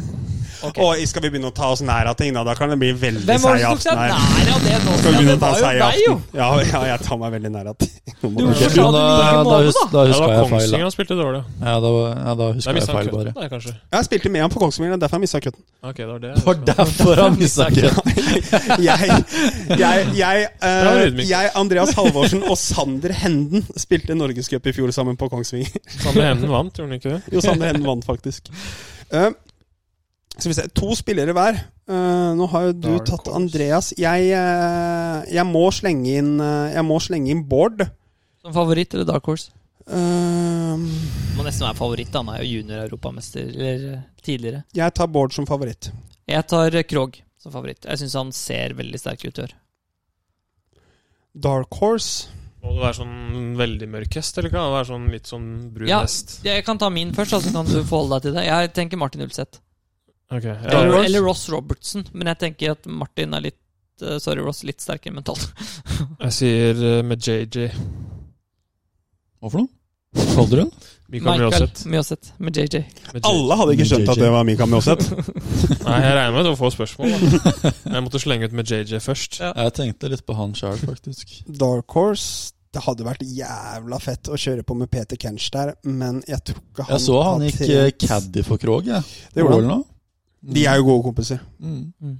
S1: Ok.
S2: Og skal vi begynne å ta oss nær av ting, da? Da kan det bli veldig
S1: Hvem var
S2: seig
S1: det som tok
S2: aften
S1: seg
S2: her.
S1: nær av det nå?
S2: Skal vi
S1: Ja,
S2: begynne
S1: det
S2: å ta
S1: var jo
S2: seig
S1: deg, jo!
S2: aften? Ja, ja, jeg tar meg veldig nær av ting. Nå
S1: Du
S2: må du-
S4: Ok, men
S1: Hvorfor sa
S4: eh,
S1: du
S4: da,
S1: like
S4: da,
S1: måte, da?
S4: hus, da
S5: Ja,
S4: huska
S5: da
S4: jeg feil.
S5: Kongsvinger
S4: Da.
S5: han spilte dårlig.
S4: Ja, da, ja, da
S5: Det
S4: huska
S5: er
S4: jeg
S5: mista
S4: feil,
S5: han
S4: bare.
S5: kutten der, kanskje.
S2: Jeg spilte med han på Kongsvinger, og derfor har jeg mista cutten.
S5: Ok, det var det. altså.
S4: Det var derfor han mista køen.
S2: Jeg, jeg, jeg,
S5: Bra,
S2: eh,
S5: Rudvik.
S2: jeg, Andreas Halvorsen og Sander Henden spilte norgescup i fjor sammen på Kongsvinger.
S5: Sander Henden vant, gjorde han ikke det?
S2: Jo, Sander Henden vant faktisk. Eh, skal vi se, To spillere hver. Eh, nå har jo du
S5: Dark
S2: tatt
S5: horse.
S2: Andreas. Jeg, eh, jeg, må slenge inn, eh, jeg må slenge inn Bård.
S1: Som favoritt eller dark horse?
S2: Eh,
S1: Må nesten være favoritt, han er jo junior-europamester eller eh, tidligere.
S2: jeg tar Bård som favoritt.
S1: Jeg tar eh, Krog som favoritt. Jeg syns han ser veldig sterk ut i år.
S2: Dark Horse.
S5: Må det være sånn veldig mørk hest, eller kan det være sånn litt sånn brun
S1: Ja.
S5: hest?
S1: Jeg kan ta min først, da, så kan du forholde deg til det. Jeg tenker Martin Ulseth.
S5: Ok, ja.
S1: Eller, eller Ross Robertson. Men jeg tenker at Martin er litt eh, Sorry, Ross. Litt sterkere mentalt.
S5: Jeg sier eh, med JJ.
S4: Hva for noe? Holder hun?
S5: Mikael
S1: Michael
S5: Mjølseth.
S1: Mjøseth med JJ.
S5: Med JJ.
S2: Alle hadde ikke skjønt at det var Mikael Mjåseth.
S5: Nei, jeg regner med å få spørsmål. Da. Jeg måtte slenge ut med JJ først.
S1: Ja.
S4: Jeg tenkte litt på han sjøl, faktisk.
S2: Dark Horse Det hadde vært jævla fett å kjøre på med Peter Kench der, men jeg tror ikke han
S4: Jeg så han
S2: har
S4: gikk eh,
S2: trent.
S4: caddy for Krog, jeg.
S2: Det gjorde han.
S4: Ålen nå.
S2: De er jo gode kompiser.
S4: Mm.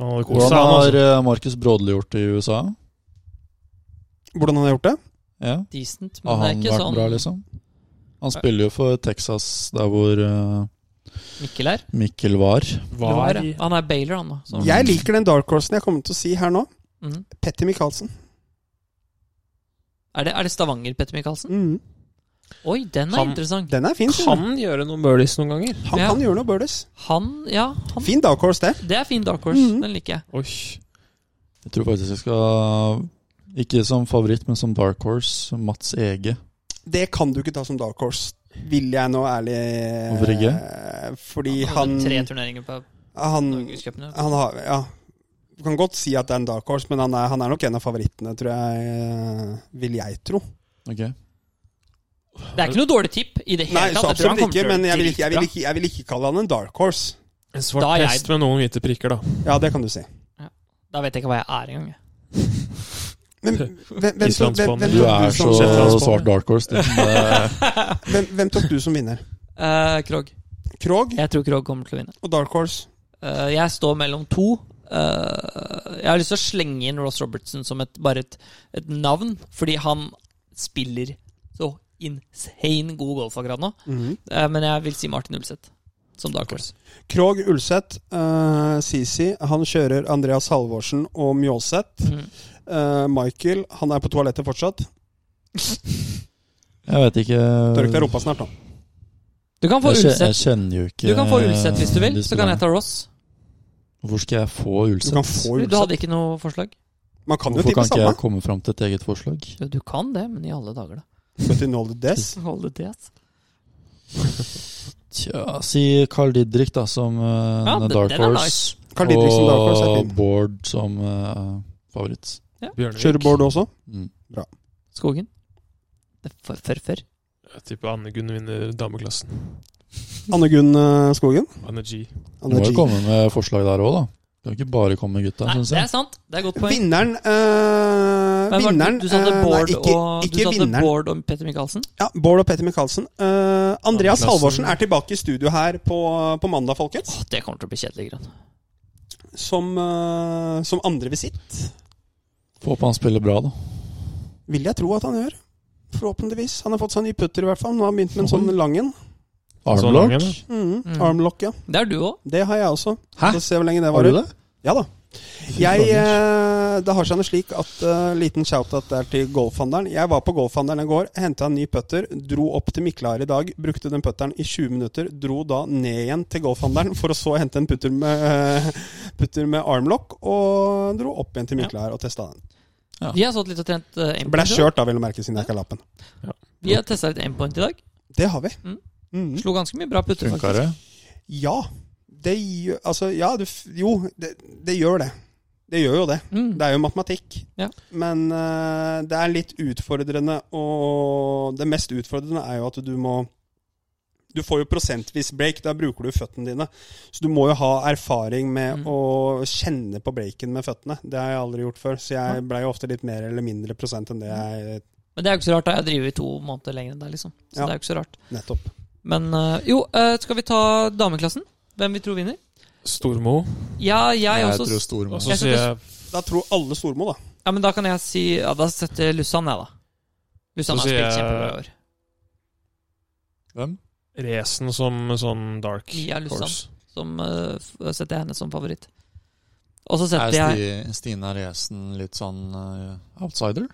S5: Han hadde kost
S4: Hvordan
S5: seg, han,
S4: har
S5: altså.
S4: eh, Marcus Brodli gjort det i USA?
S2: Hvordan han har gjort det?
S4: Ja.
S1: Decent, men
S4: Har
S1: det er
S4: han
S1: ikke
S4: vært
S1: sånn
S4: bra, liksom? Han spiller jo for Texas, der hvor eh,
S1: Mikkel er.
S4: Mikkel var.
S1: Eller hva er
S5: Var
S1: det? Han er Baylor, han, da. Så.
S4: Mm.
S2: Jeg liker den dark horsen jeg kommer til å si her nå.
S1: Mm.
S2: Petter Michaelsen.
S1: Er det, er det Stavanger, Petter Michaelsen?
S2: Mm.
S1: Oi, den er
S5: Han-
S1: interessant.
S2: Den er fin. synes jeg.
S5: Kan gjøre noen birdies noen ganger.
S2: han
S1: ja.
S2: kan gjøre noe birdies.
S1: Han, ja. Han,
S2: Fin dark horse, det.
S1: det er fin dark horse.
S2: Mm.
S1: Den liker jeg.
S5: Oi.
S4: Jeg tror faktisk jeg skal Ikke som favoritt, men som dark horse. Mats Ege.
S2: Det kan du ikke ta som dark horse, vil jeg nå ærlig
S4: Hvorfor ikke?
S2: eh, Fordi
S1: Han Mm.
S2: han
S1: vant Tre turneringer på
S2: Han,
S1: Norgescupene.
S2: han har Ja. Du kan godt si at det er en dark horse, men han er, han er nok en av favorittene, tror jeg. eh, Vil jeg tro.
S4: Ok.
S1: Det er ikke noe dårlig tipp i det hele
S2: Nei, så
S1: tatt. Jeg tror han
S2: absolutt
S1: kommer
S2: ikke,
S1: til å
S2: men jeg vil
S1: gjøre
S2: ikke, jeg vil
S1: dritbra.
S2: ikke, jeg vil ikke kalle han en dark horse.
S1: Da
S5: En svart
S1: er jeg-
S5: hest med noen hvite prikker, da.
S2: Ja, det kan du si.
S1: Da vet jeg ikke hva jeg er engang. jeg.
S2: Men hvem, hvem, hvem, hvem,
S5: Islandsbanen.
S2: hvem,
S4: Du
S2: tok
S4: er
S2: du som-
S4: så svart dark horse. eh, Det, det,
S2: hvem, hvem tok du som vinner?
S1: Eh, Krog.
S2: Krog
S1: Jeg tror Krog kommer til å vinne.
S2: og dark horse?
S1: Eh, jeg står mellom to. Eh, jeg har lyst til å slenge inn Ross Robertson som et, bare et, et navn, fordi han spiller så insane god golf akkurat nå.
S2: Mhm.
S1: Eh, men jeg vil si Martin Ulseth som dark horse.
S2: Krog, Ulseth, eh, Sisi. Han kjører Andreas Halvorsen og Mjåseth.
S1: Mm.
S2: Eh, Michael, han er på toalettet fortsatt.
S4: jeg vet ikke
S2: Tørk deg i rumpa snart, da.
S1: Du kan få
S4: Jeg, kje- jeg
S1: Ulseth.
S4: kjenner jo ikke
S1: Du kan få Ulseth hvis du vil, så kan jeg ta Ross.
S4: Hvorfor skal jeg få
S2: Du
S4: Ulseth?
S2: kan få
S1: Du hadde
S2: Ulseth.
S1: ikke noe forslag?
S2: Man kan jo
S4: Hvorfor
S2: tippe
S4: kan ikke
S2: samme.
S4: jeg komme fram til et eget forslag?
S1: Jo, du kan det, men i alle dager, da.
S2: But you know the death.
S1: Hold det til, altså. ass.
S4: Tja, si Carl Didrik, da, som eh, en
S1: den-
S4: dark
S1: den er
S4: horse.
S2: Carl Didrik som dark horse er
S4: Og
S2: fin.
S4: Bård som eh, favoritt.
S5: Bjørnevik.
S2: Kjører Bård også?
S4: Mm.
S1: Skogen. Det er For, for, for.
S5: Jeg tipper Anne Gunn vinner dameklassen.
S2: Anne Gunn eh, Skogen?
S5: Anne G.
S4: Du
S2: Anne
S4: må jo
S2: G.
S4: komme med forslag der òg, da. Du kan ikke bare komme med gutta.
S1: Nei,
S4: synes
S1: det
S4: jeg.
S1: er sant. Det er et godt poeng.
S2: Vinneren eh,
S1: Hvem var det?
S2: Vinneren
S1: du satte
S2: eh,
S1: Bård
S2: Nei, ikke,
S1: og, du
S2: ikke
S1: satte
S2: vinneren.
S1: Bård og Petter Michaelsen.
S2: Ja, Bård og Petter Michaelsen. Eh, Andreas
S5: Andreas.
S2: Halvorsen er tilbake i studio her på, på mandag, folkens.
S1: Åh, det kommer til å bli kjedelig. Grønn.
S2: Som, eh, som andre visitt.
S4: Få håpe han spiller bra, da.
S2: Vil jeg tro at han gjør. Forhåpentligvis. Han har fått seg en ny putter, i hvert fall. Nå har han begynt med en sånn lang en.
S5: Så
S4: Armlock?
S5: lang en,
S2: Mhm.
S1: Mm.
S2: Armlock, ja.
S1: Det er du òg.
S2: Det har jeg også.
S4: Hæ?
S2: Få se hvor lenge det
S4: Har
S2: varer.
S4: du det?
S2: Ja da. Jeg, eh, eh, det har seg noe slik at eh, liten shout-out der til golfhandelen. Jeg var på golfhandelen i går, henta en ny putter, dro opp til Miklar i dag, brukte den putteren i 20 minutter, dro da ned igjen til golfhandelen for å så hente en putter med, eh, putter med armlock, og dro opp igjen til Miklar og testa den.
S1: Vi har stått litt og trent eh,
S2: Ble
S1: aimpoint. i dag.
S2: kjørt da, vil du merke, siden jeg ikke har lappen.
S1: Vi har testa litt aimpoint i dag.
S2: Det har vi.
S1: Mm.
S2: Mhm.
S1: Slo ganske mye bra putter,
S4: Funka
S1: faktisk.
S4: det?
S2: Ja. Det gjør Altså, ja, du f- Jo, det, det gjør det. Det gjør jo det.
S1: Mm.
S2: Det er jo matematikk.
S1: Ja.
S2: Men eh, det er litt utfordrende, og det mest utfordrende er jo at du må Du får jo prosentvis break, da bruker du føttene dine. Så du må jo ha erfaring med
S1: Mm.
S2: å kjenne på breaken med føttene. Det har jeg aldri gjort før, så jeg blei jo ofte litt mer eller mindre prosent enn det jeg
S1: Men det er jo ikke så rart, da. Jeg driver i to måneder lenger enn deg, liksom. Så
S2: Ja.
S1: det er jo ikke så rart.
S2: nettopp
S1: Men eh, jo, eh, skal vi ta dameklassen? Hvem vi tror vinner?
S5: Stormo.
S1: Ja, jeg,
S4: Jeg
S1: også.
S4: tror Stormo.
S1: Jeg
S5: Og så
S1: synes
S5: sier jeg
S2: Da tror alle Stormo, da.
S1: Ja, men da kan jeg si Ja, da setter jeg Lusann, jeg, da. Lusann
S5: Så
S1: har
S5: sier
S1: spilt
S5: jeg-
S1: kjempebra i år.
S4: Hvem?
S5: Racen som sånn dark
S1: Mia Lussan.
S5: horse.
S1: Som eh, f- setter jeg henne som favoritt. Og så
S4: Er
S1: setter jeg
S4: Sti- Stina Resen litt sånn eh, outsider?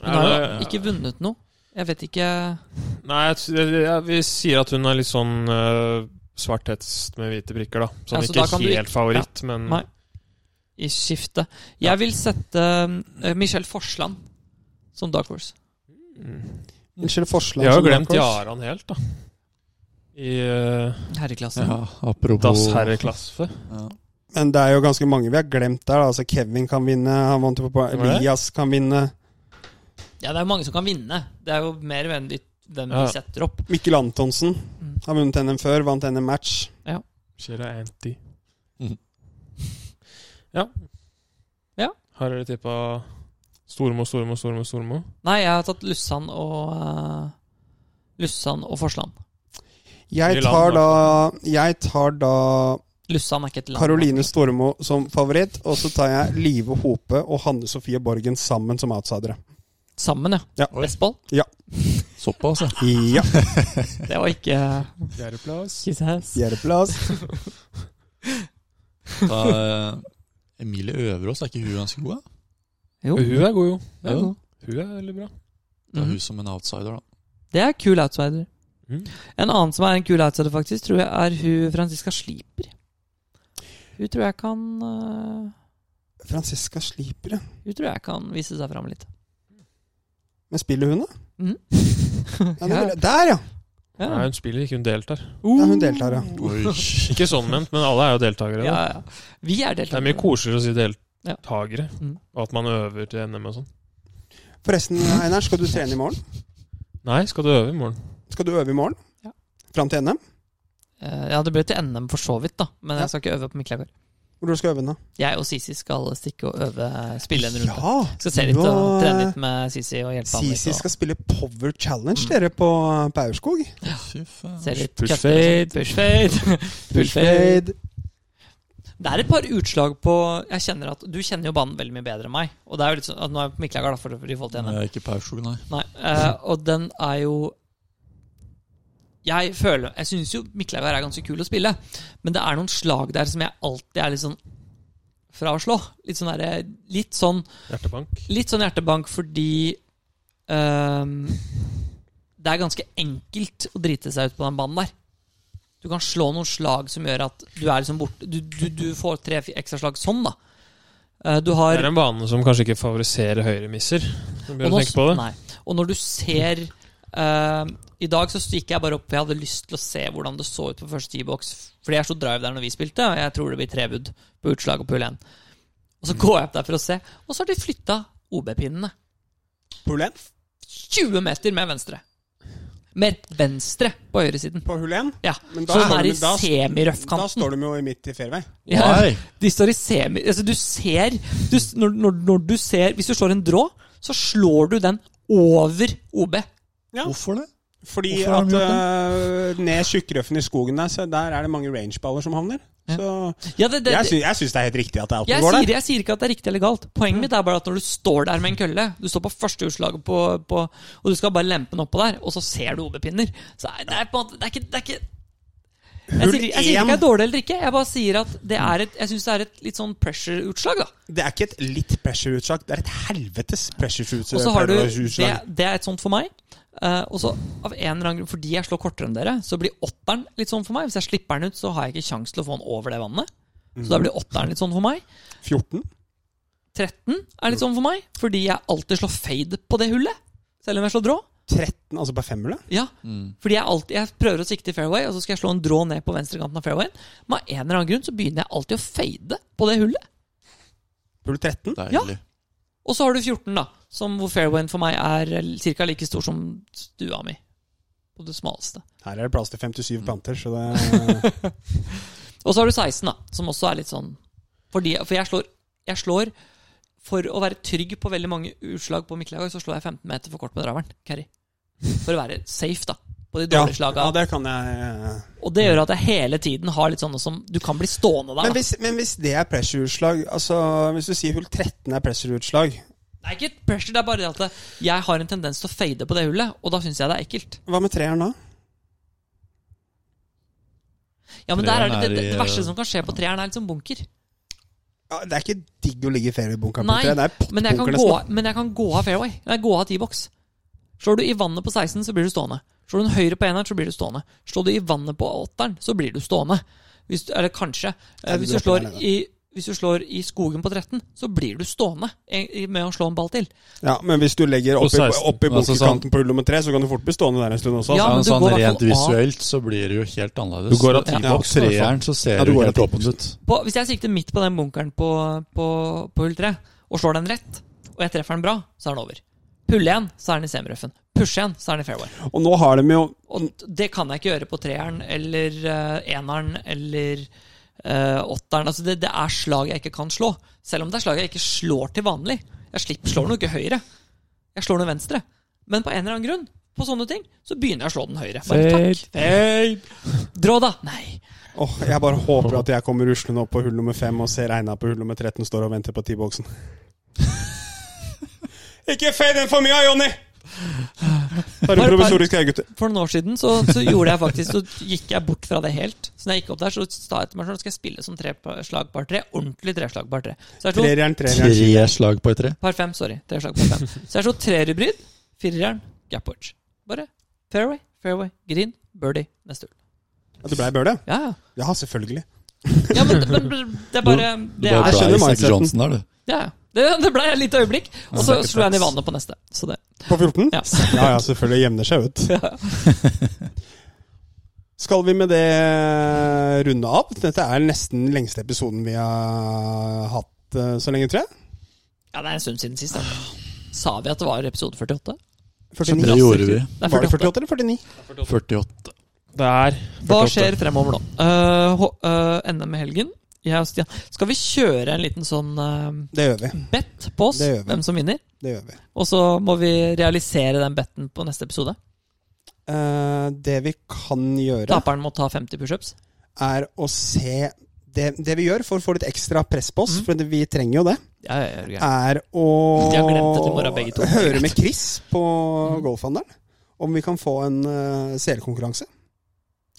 S1: Hun har jo
S5: Er det-
S1: ikke vunnet noe. Jeg vet ikke
S5: Nei, jeg, t- jeg, jeg, vi sier at hun er litt sånn uh, svarthets med hvite prikker, da. Så
S1: Ja,
S5: hun
S1: så
S5: ikke
S1: da kan du
S5: helt favoritt, men
S1: Nei. i skiftet. Jeg vil sette eh, Michelle Forsland som Dark Horse.
S5: Mm.
S2: Unnskyld forslag.
S5: Jeg har jo
S2: som
S5: glemt
S2: Dark Horse.
S5: Jaran helt, da. I uh,
S1: Herreklasse.
S4: Ja, apropos
S5: Das Herreklasse.
S4: Ja.
S2: Men det er jo ganske mange vi har glemt der. da. Altså Kevin kan vinne, han vant jo på
S5: Var det?
S2: Elias kan vinne.
S1: Ja, det er jo mange som kan vinne. Det er jo mer hvem de, hvem
S5: Ja.
S1: de setter opp.
S2: Mikkel Antonsen
S1: Mm.
S2: har vunnet NM før, vant NM match.
S5: Kjære anti.
S4: Mhm.
S5: Ja.
S1: Ja.
S5: Har dere tippa Stormo, Stormo, Stormo, Stormo?
S1: Nei, jeg har tatt Lussan og eh, Lussan og Forsland.
S2: Jeg
S5: Mye land,
S2: tar da, jeg tar da
S1: Lussan er ikke et land.
S2: Karoline Stormo som favoritt, og så tar jeg Live Hope og Hanne Sofie Borgen sammen som outsidere.
S1: Sammen, ja.
S2: Ja.
S1: Vestfold.
S4: Såpass, ja.
S2: Ja,
S1: Det var ikke
S5: Fjerdeplass.
S1: Kiss ass.
S2: fjerdeplass.
S4: Da, eh, Emilie Øverås, er ikke hun ganske god? da?
S1: Jo.
S5: Hun er god, jo.
S1: det er god.
S5: Hun er veldig bra.
S4: Det er
S1: Mhm.
S4: hun som en outsider, da.
S1: Det er kul outsider.
S5: Mm.
S1: En annen som er en kul outsider, faktisk, tror jeg er hun Franziska Sliper. Hun tror jeg kan øh,
S2: Francesca Sliper, ja.
S1: Hun tror jeg kan vise seg fram litt.
S2: Men spiller hun, da?
S1: Mhm.
S2: Ja, det vil jeg- Der, ja!
S1: Ja.
S5: Nei, hun spiller ikke, hun deltar.
S2: Ja, hun deltar, ja.
S4: Oi.
S5: Ikke sånn ment, men alle er jo deltakere.
S1: ja,
S5: da.
S1: ja. Vi er
S5: Det
S1: deltakere.
S5: er mye koseligere å si
S1: Ja.
S5: deltakere,
S1: Mm.
S5: og at man øver til NM og sånn.
S2: Forresten, Einar, skal du trene i morgen?
S5: Nei, skal du øve i morgen?
S2: Skal du øve i morgen?
S1: Ja.
S2: Fram til NM?
S1: Eh, Ja, det ble til NM for så vidt, da. Men
S2: Ja.
S1: jeg skal ikke øve på Miklagård.
S2: Hvor du skal øve den, da?
S1: Jeg og Sisi skal stikke og øve, spille en runde.
S2: Ja!
S1: Skal se litt
S2: du
S1: og
S2: og-
S1: trene litt med Sisi og hjelpe han litt.
S2: Sisi
S1: og
S2: skal spille Power Challenge,
S1: Mm.
S2: dere, på, på Aurskog.
S4: Fy faen.
S1: se litt
S5: Push
S1: krefter og sånn. Push fade. Push fade. Det er et par utslag på Jeg kjenner at Du kjenner jo banen veldig mye bedre enn meg. Og det er jo litt sånn at Nå er jeg på Miklagard, da, for for i forhold til
S4: Nei,
S1: henne.
S4: jeg er ikke Paurskog, nei.
S1: Nei, eh, og den er jo Jeg føler Jeg syns jo Miklagard er ganske kul å spille, men det er noen slag der som jeg alltid er litt sånn fra å slå. Litt sånn, derre- litt sånn,
S5: Hjertebank.
S1: litt sånn hjertebank fordi ehm, Det er ganske enkelt å drite seg ut på den banen der. Du kan slå noen slag som gjør at du er liksom borte Du, du, du får tre ekstra slag sånn, da. Eh, Du
S5: Det
S1: har
S5: er en bane som kanskje ikke favoriserer høyremisser. Når du
S1: Og
S5: begynner å
S1: nå-
S5: tenke på det.
S1: Nei. Og når du ser eh, I dag så gikk jeg bare opp, for jeg hadde lyst til å se hvordan det så ut på første T-box. Fordi jeg slo drive der når vi spilte, og jeg tror det blir trebud på utslag og pull 1. Og så
S5: Mm.
S1: går jeg opp der for å se, og så har de flytta OB-pinnene.
S2: Hull 1?
S1: 20 meter med venstre. Mer venstre på høyresiden.
S2: På hull 1?
S1: Ja.
S2: Men
S1: Så den
S2: står
S1: er
S2: de-
S1: i
S2: da- Da
S1: semirøffkanten.
S2: står de jo i midt i fairway.
S1: Ja,
S4: Nei.
S1: de står i semi... Altså, du ser du, s- når, når, når du ser Hvis du slår en drå, så slår du den over OB.
S4: Hvorfor det?
S2: Fordi
S4: Hvorfor har de
S2: at
S4: gjort
S2: øh, ned tjukkrøffen i skogen der, så der er det mange rangeballer som havner.
S1: Ja.
S2: Så
S1: Ja, det, det,
S2: jeg, sy jeg syns det er helt riktig at det er
S1: Jeg
S2: outdoor går
S1: sier,
S2: der.
S1: jeg sier ikke at det er riktig eller galt. Poenget mitt er bare at når du står der med en kølle, du står på første utslaget på, på og du skal bare lempe den oppå der, og så ser du OB-pinner, så er det, er på en måte, det, er ikke, det er ikke Jeg sier, jeg sier ikke det
S2: én.
S1: er dårlig eller ikke, jeg bare sier at det er et, jeg syns det er et litt sånn pressure-utslag. da.
S2: Det er ikke et litt pressure-utslag, det er et helvetes eh, pressure-utslag.
S1: Og så har du det, det er et sånt for meg. Eh, og så av en eller annen grunn Fordi jeg slår kortere enn dere, så blir åtteren litt sånn for meg. Hvis jeg slipper den ut, så har jeg ikke kjangs til å få den over det vannet. Så da blir åtteren litt sånn for meg.
S2: 14?
S1: 13 er litt sånn for meg, fordi jeg alltid slår fade på det hullet. Selv om jeg slår drå.
S2: 13, altså på femmerlet?
S1: Ja,
S4: Mm.
S1: fordi jeg, alltid, jeg prøver å sikte i fairway, og så skal jeg slå en drå ned på venstrekanten av fairwayen. Men av en eller annen grunn så begynner jeg alltid å fade på det hullet.
S2: Pull 13?
S4: Deilig.
S1: Og så har du 14, da, som hvor fairwayen for meg er ca. like stor som stua mi. På det smaleste.
S2: Her er det plass til 57 planter, så det
S1: Og så har du 16, da, som også er litt sånn fordi, For jeg slår, jeg slår For å være trygg på veldig mange utslag på Mikkelager, så slår jeg 15 meter for kort med draveren. Carry. For å være safe, da. På de
S2: ja,
S1: dårlige slaga.
S2: ja, det kan jeg eh,
S1: Og det gjør at jeg hele tiden har litt sånne som Du kan bli stående der.
S2: Men
S1: da.
S2: hvis, men hvis det er pressure-utslag altså, Hvis du sier hull 13 er pressure-utslag,
S1: Det er ikke et pressure, det er bare det at det- jeg har en tendens til å fade på det hullet, og da syns jeg det er ekkelt.
S2: hva med treeren da?
S1: Ja, men der er
S4: Treeren
S1: det, det,
S4: er i, eh,
S1: det, verste som kan skje på treeren, er litt sånn bunker.
S2: Ja, det er ikke digg å ligge i fairway-bunka på
S1: Nei,
S2: tre. Det er
S1: men jeg, kan
S2: pottbunker
S1: gå,
S2: nesten.
S1: men jeg kan gå av fairway. Nei, gå av T-box. Slår du i vannet på 16, så blir du stående. Slår du en høyre på eneren, så blir du stående. Slår du i vannet på åtteren, så blir du stående. Hvis, du- eller kanskje. Eh,
S2: Ja, du
S1: Hvis du,
S2: dropper
S1: slår
S2: den ene.
S1: i, hvis du slår i skogen på 13, så blir du stående eh, med å slå en ball til.
S2: Ja, men hvis du legger
S5: På
S2: opp i,
S5: 16,
S2: opp i
S4: altså sånn-
S2: bunkerkanten på hull nummer tre, så kan du fort bli stående der en stund
S1: Ja,
S2: også.
S4: Ja,
S1: men
S4: men
S1: du
S4: sånn
S1: går i hvert
S4: Rent
S1: fall av-
S4: visuelt så blir det jo helt annerledes.
S5: Du går av
S4: ja,
S5: T-box, i hvert fall.
S4: treeren, så ser
S2: Ja, du
S4: du
S2: går av
S4: helt åpent ut.
S1: På, hvis jeg sikter midt på den bunkeren på, på, på hull 3, og slår den rett, og jeg treffer den bra, så er den over. Pulle igjen, så er den i semiruffen. Pushe igjen, så er den i fairway.
S2: Og nå har de jo
S1: Og det kan jeg ikke gjøre på treeren eller eh, eneren eller eh, åtteren. Altså det, det er slag jeg ikke kan slå. Selv om det er slag jeg ikke slår til vanlig. Jeg slipper, slår noe ikke høyre. Jeg slår noe venstre. Men på en eller annen grunn på sånne ting, så begynner jeg å slå den høyre. Bare takk. Drå, da! Nei.
S2: Åh, Jeg bare håper at jeg kommer ruslende opp på hull nummer fem og ser Einar på hull nummer 13 står og venter på T-boksen. ikke fade den for mye, Jonny! Da er
S1: Bare-
S2: du provisorisk her, gutter.
S1: For noen år siden så, så gjorde jeg faktisk Så gikk jeg bort fra det helt. Så når jeg gikk opp der, så sa jeg til meg selv skal jeg spille som tre slag par tre. Ordentlig tre slag par tre. Så jeg slo
S2: Trerjern, trerjern.
S4: Tre slag på et tre.
S1: Par fem, sorry. Tre slag par fem. Så jeg slo tre rubrid, firerjern, gapwatch. Bare fairway, fairway, green, birdie, neste hull.
S2: Ja, du blei bøle?
S1: Ja, ja.
S2: Ja, selvfølgelig.
S1: ja men, men men det er bare
S4: Du
S1: Det er
S4: bare
S2: skjønner
S4: Bryce
S2: mindseten.
S4: Johnson der, du.
S1: ja, ja. det, det ble et lite øyeblikk, og så
S4: Second
S1: slo jeg den i
S4: place.
S1: vannet på neste. Så det
S2: På 14?
S1: Ja.
S2: Ja, ja, selvfølgelig. Jevner seg ut.
S1: Ja.
S2: Skal vi med det runde av? Dette er nesten den lengste episoden vi har hatt eh, så lenge, tror jeg.
S1: Ja, det er en stund siden sist. da. Sa vi at det var episode 48?
S2: 49.
S4: Det gjorde vi.
S1: Det er
S2: Var det
S1: 48.
S2: 48 eller 49?
S4: 48.
S5: Der.
S1: Hva skjer fremover nå? Eh, H- eh, NM i helgen. Jeg og Stian. Skal vi kjøre en liten sånn eh,
S2: Det gjør vi.
S1: bet på oss,
S2: Det gjør vi.
S1: hvem som vinner?
S2: Det gjør vi.
S1: Og så må vi realisere den betten på neste episode.
S2: Eh, det vi kan gjøre,
S1: Taperen må ta 50 pushups.
S2: er å se det, det vi gjør for å få litt ekstra press på oss, for det- vi trenger jo det,
S1: Ja, ja, ja, Mm. ja.
S2: er å
S1: De har glemt det til morgen, begge to. Mm.
S2: høre med Chris på Golfhandelen om vi kan få en uh, seerkonkurranse.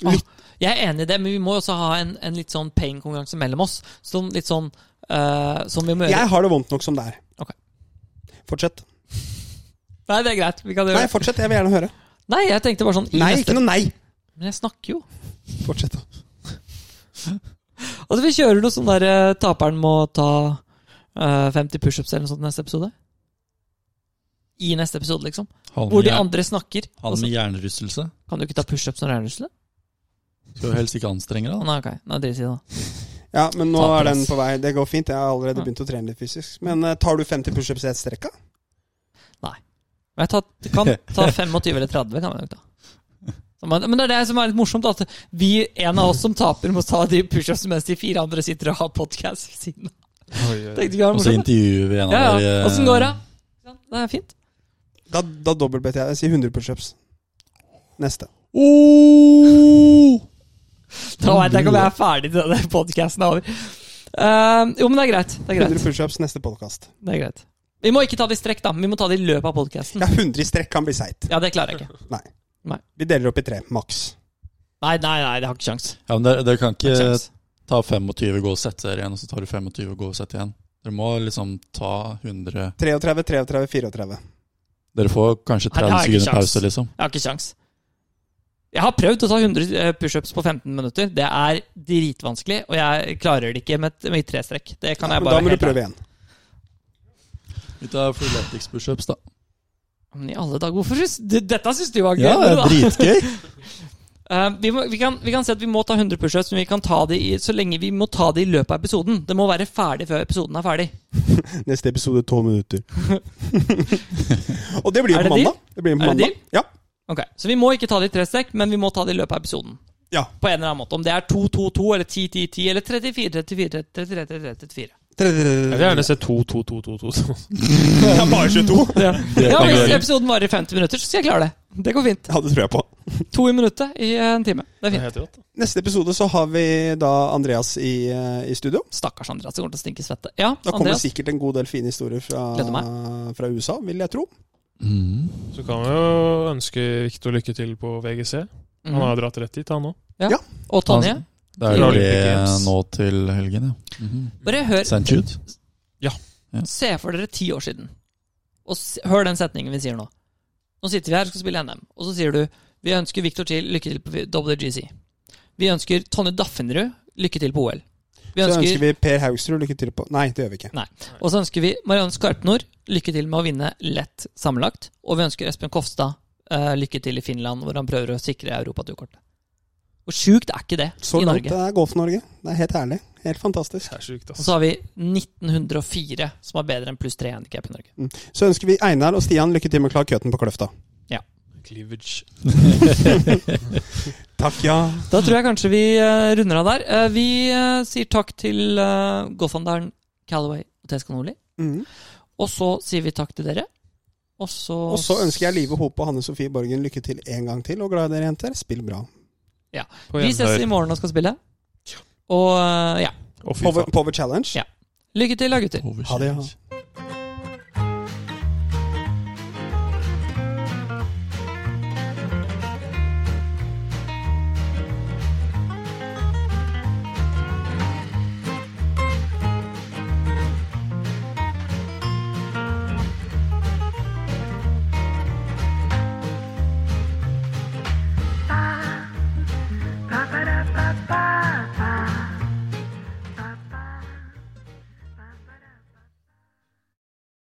S1: Jeg er enig i det, men vi må også ha en, en litt sånn pain-konkurranse mellom oss. Sånn, litt sånn eh, som vi må gjøre.
S2: Jeg har det vondt nok som det er.
S1: Ok.
S2: Fortsett.
S1: Nei, det er greit. Vi kan gjøre
S2: Nei,
S1: det.
S2: fortsett. Jeg vil gjerne høre.
S1: Nei, jeg tenkte bare sånn i
S2: Nei,
S1: neste-
S2: ikke noe nei.
S1: Men jeg snakker jo.
S2: Fortsett. da.
S1: Altså, vi kjører noe sånn der eh, taperen må ta eh, 50 pushups eller noe sånt i neste episode. I neste episode, liksom.
S4: Han
S1: Hvor
S4: med,
S1: de
S4: jern,
S1: andre snakker.
S4: han
S1: og så-
S4: med hjernerystelse.
S1: Kan du ikke ta pushups når du er ruslet?
S4: Skal jo helst ikke anstrenge deg. da.
S1: Nei, ok. Nei, drit i det, da.
S2: Ja, men nå
S1: Ta
S2: er den
S1: press.
S2: på vei. Det går fint. Jeg har allerede
S1: Ja.
S2: begynt å trene litt fysisk. Men eh, tar du 50 pushups i ett strekk? da?
S1: Men jeg tar, kan ta 25 eller 30, kan man jo ikke ta. Så man- Men det er det som er litt morsomt, at vi, en av oss som taper, må ta de pushups mens de fire andre sitter og har podkast ved siden av. Tenkte ikke det var
S4: Og så
S1: morsomt?
S4: intervjuer vi en av
S1: Ja,
S4: dere. eh,
S1: ja. Åssen går det? Ja, Det er fint.
S2: Da, da dobbeltbetter jeg. Jeg sier 100 pushups. Neste. Oh!
S1: Da veit jeg ikke om jeg er ferdig til denne podkasten er over. Eh, jo, men det er greit. Det er
S2: 100
S1: greit.
S2: pushups neste podkast.
S1: Det er greit. Vi må ikke ta det i strekk, da. Vi må ta det i løpet av podkasten.
S2: Ja, 100 i strekk kan bli seigt.
S1: Ja, det klarer jeg ikke.
S2: Nei.
S1: Nei.
S2: Vi deler opp i tre, maks.
S1: Nei, nei, nei, det har ikke kjangs.
S4: Ja, men dere, dere kan
S1: Det har
S4: ikke
S1: ikke kjangs.
S4: ta 25 gå og sette dere igjen, og så tar du 25 gå og sette igjen. Dere må liksom ta 100
S2: 33, 33, 34.
S4: Dere får kanskje
S1: Nei, det
S4: 30
S1: har jeg ikke
S4: sekunder
S1: sjans.
S4: pause, liksom.
S1: Jeg har ikke sjans. Jeg har prøvd å ta 100 eh, pushups på 15 minutter. Det er dritvanskelig, og jeg klarer det ikke med, et- med tre strekk. Det kan jeg
S2: Men
S1: bare
S2: da må du
S1: helt ærlig.
S2: prøve igjen.
S4: Vi tar Freeletics pushups, da.
S1: Men i alle dager, hvorfor syns du Dette syns du var gøy?
S4: Ja, det
S1: da.
S4: er dritgøy!
S1: Eh, vi, må, vi, kan, vi kan si at vi må ta 100 pushups, men vi kan ta det i, så lenge vi må ta det i løpet av episoden. Det må være ferdig før episoden er ferdig.
S2: Neste episode tolv minutter. og det blir
S1: Er
S2: jo
S1: det
S2: på mandag. Det blir jo på
S1: Er det
S2: mandag. Ja.
S1: Ok, Så vi må ikke ta det i tre strekk, men vi må ta det i løpet av episoden.
S2: Ja.
S1: På en eller annen måte. Om det er 2-2-2 eller 10-10-10 eller 34-34-34-34.
S5: Jeg vil gjerne se 2-2-2-2-2.
S2: Det er bare 22.
S1: Ja.
S4: Det
S1: ja,
S4: kan vi
S1: hvis
S4: gjøre.
S1: episoden varer i 50 minutter, så skal jeg klare det. Det går fint.
S2: Ja, det tror jeg på.
S1: To i minuttet i en time. Det er fint.
S2: Neste episode så har vi da Andreas i, eh, i studio.
S1: Stakkars Andreas, det kommer til å stinke svette. Ja,
S2: Da kommer
S1: Andreas.
S2: sikkert en god del fine historier fra,
S1: Gleder
S2: fra USA, vil jeg tro.
S4: Mm.
S5: Så kan vi jo ønske Viktor lykke til på VGC. Han har
S1: Mhm.
S5: jo dratt rett dit, han òg.
S1: Og Tonje.
S4: Det er
S5: Fra
S4: jo
S5: Olympic
S4: det
S5: Games.
S4: nå til helgen, ja. Mhm.
S1: Bare hør
S4: St. Jude.
S1: Se for dere ti år siden, og s- hør den setningen vi sier nå. Nå sitter vi her og skal spille NM, og så sier du vi ønsker Victor til lykke til på WGC. Vi ønsker Tonje Daffenrud lykke til på OL. Vi
S2: Så ønsker
S1: ønsker,
S2: vi Per Haugsrud lykke til på Nei, det gjør vi ikke.
S1: og så ønsker vi Marianne Skarpnord lykke til med å vinne lett sammenlagt. Og vi ønsker Espen Kofstad eh, lykke til i Finland, hvor han prøver å sikre europaturkortet. Hvor sjukt er ikke det
S2: Så
S1: i Norge?
S2: langt det er Golf-Norge. Det er helt ærlig. Helt fantastisk.
S5: Det er sjukt,
S1: Og
S5: ass.
S1: så har vi 1904, som er bedre enn pluss tre handikap i Norge.
S2: Så ønsker vi Einar og Stian lykke til med å klare køten på Kløfta.
S5: Cleavage.
S2: Takk, ja.
S1: Da tror jeg kanskje vi eh, runder av der. Eh, vi eh, sier takk til uh, golfhandleren Callaway og Tesco Nordli.
S2: Mhm.
S1: Og så sier vi takk til dere. Og så,
S2: Og så ønsker jeg Live Hope og Hanne Sofie Borgen lykke til en gang til, og glad i dere, jenter. Spill bra.
S5: På
S1: Vi ses
S5: gjenhør.
S1: i morgen og skal spille. Og eh, ja,
S5: Å, fy
S2: Power,
S5: faen.
S2: power Challenge.
S1: lykke til da, gutter.
S4: Over
S2: Ha det, ja.
S4: Kjevik.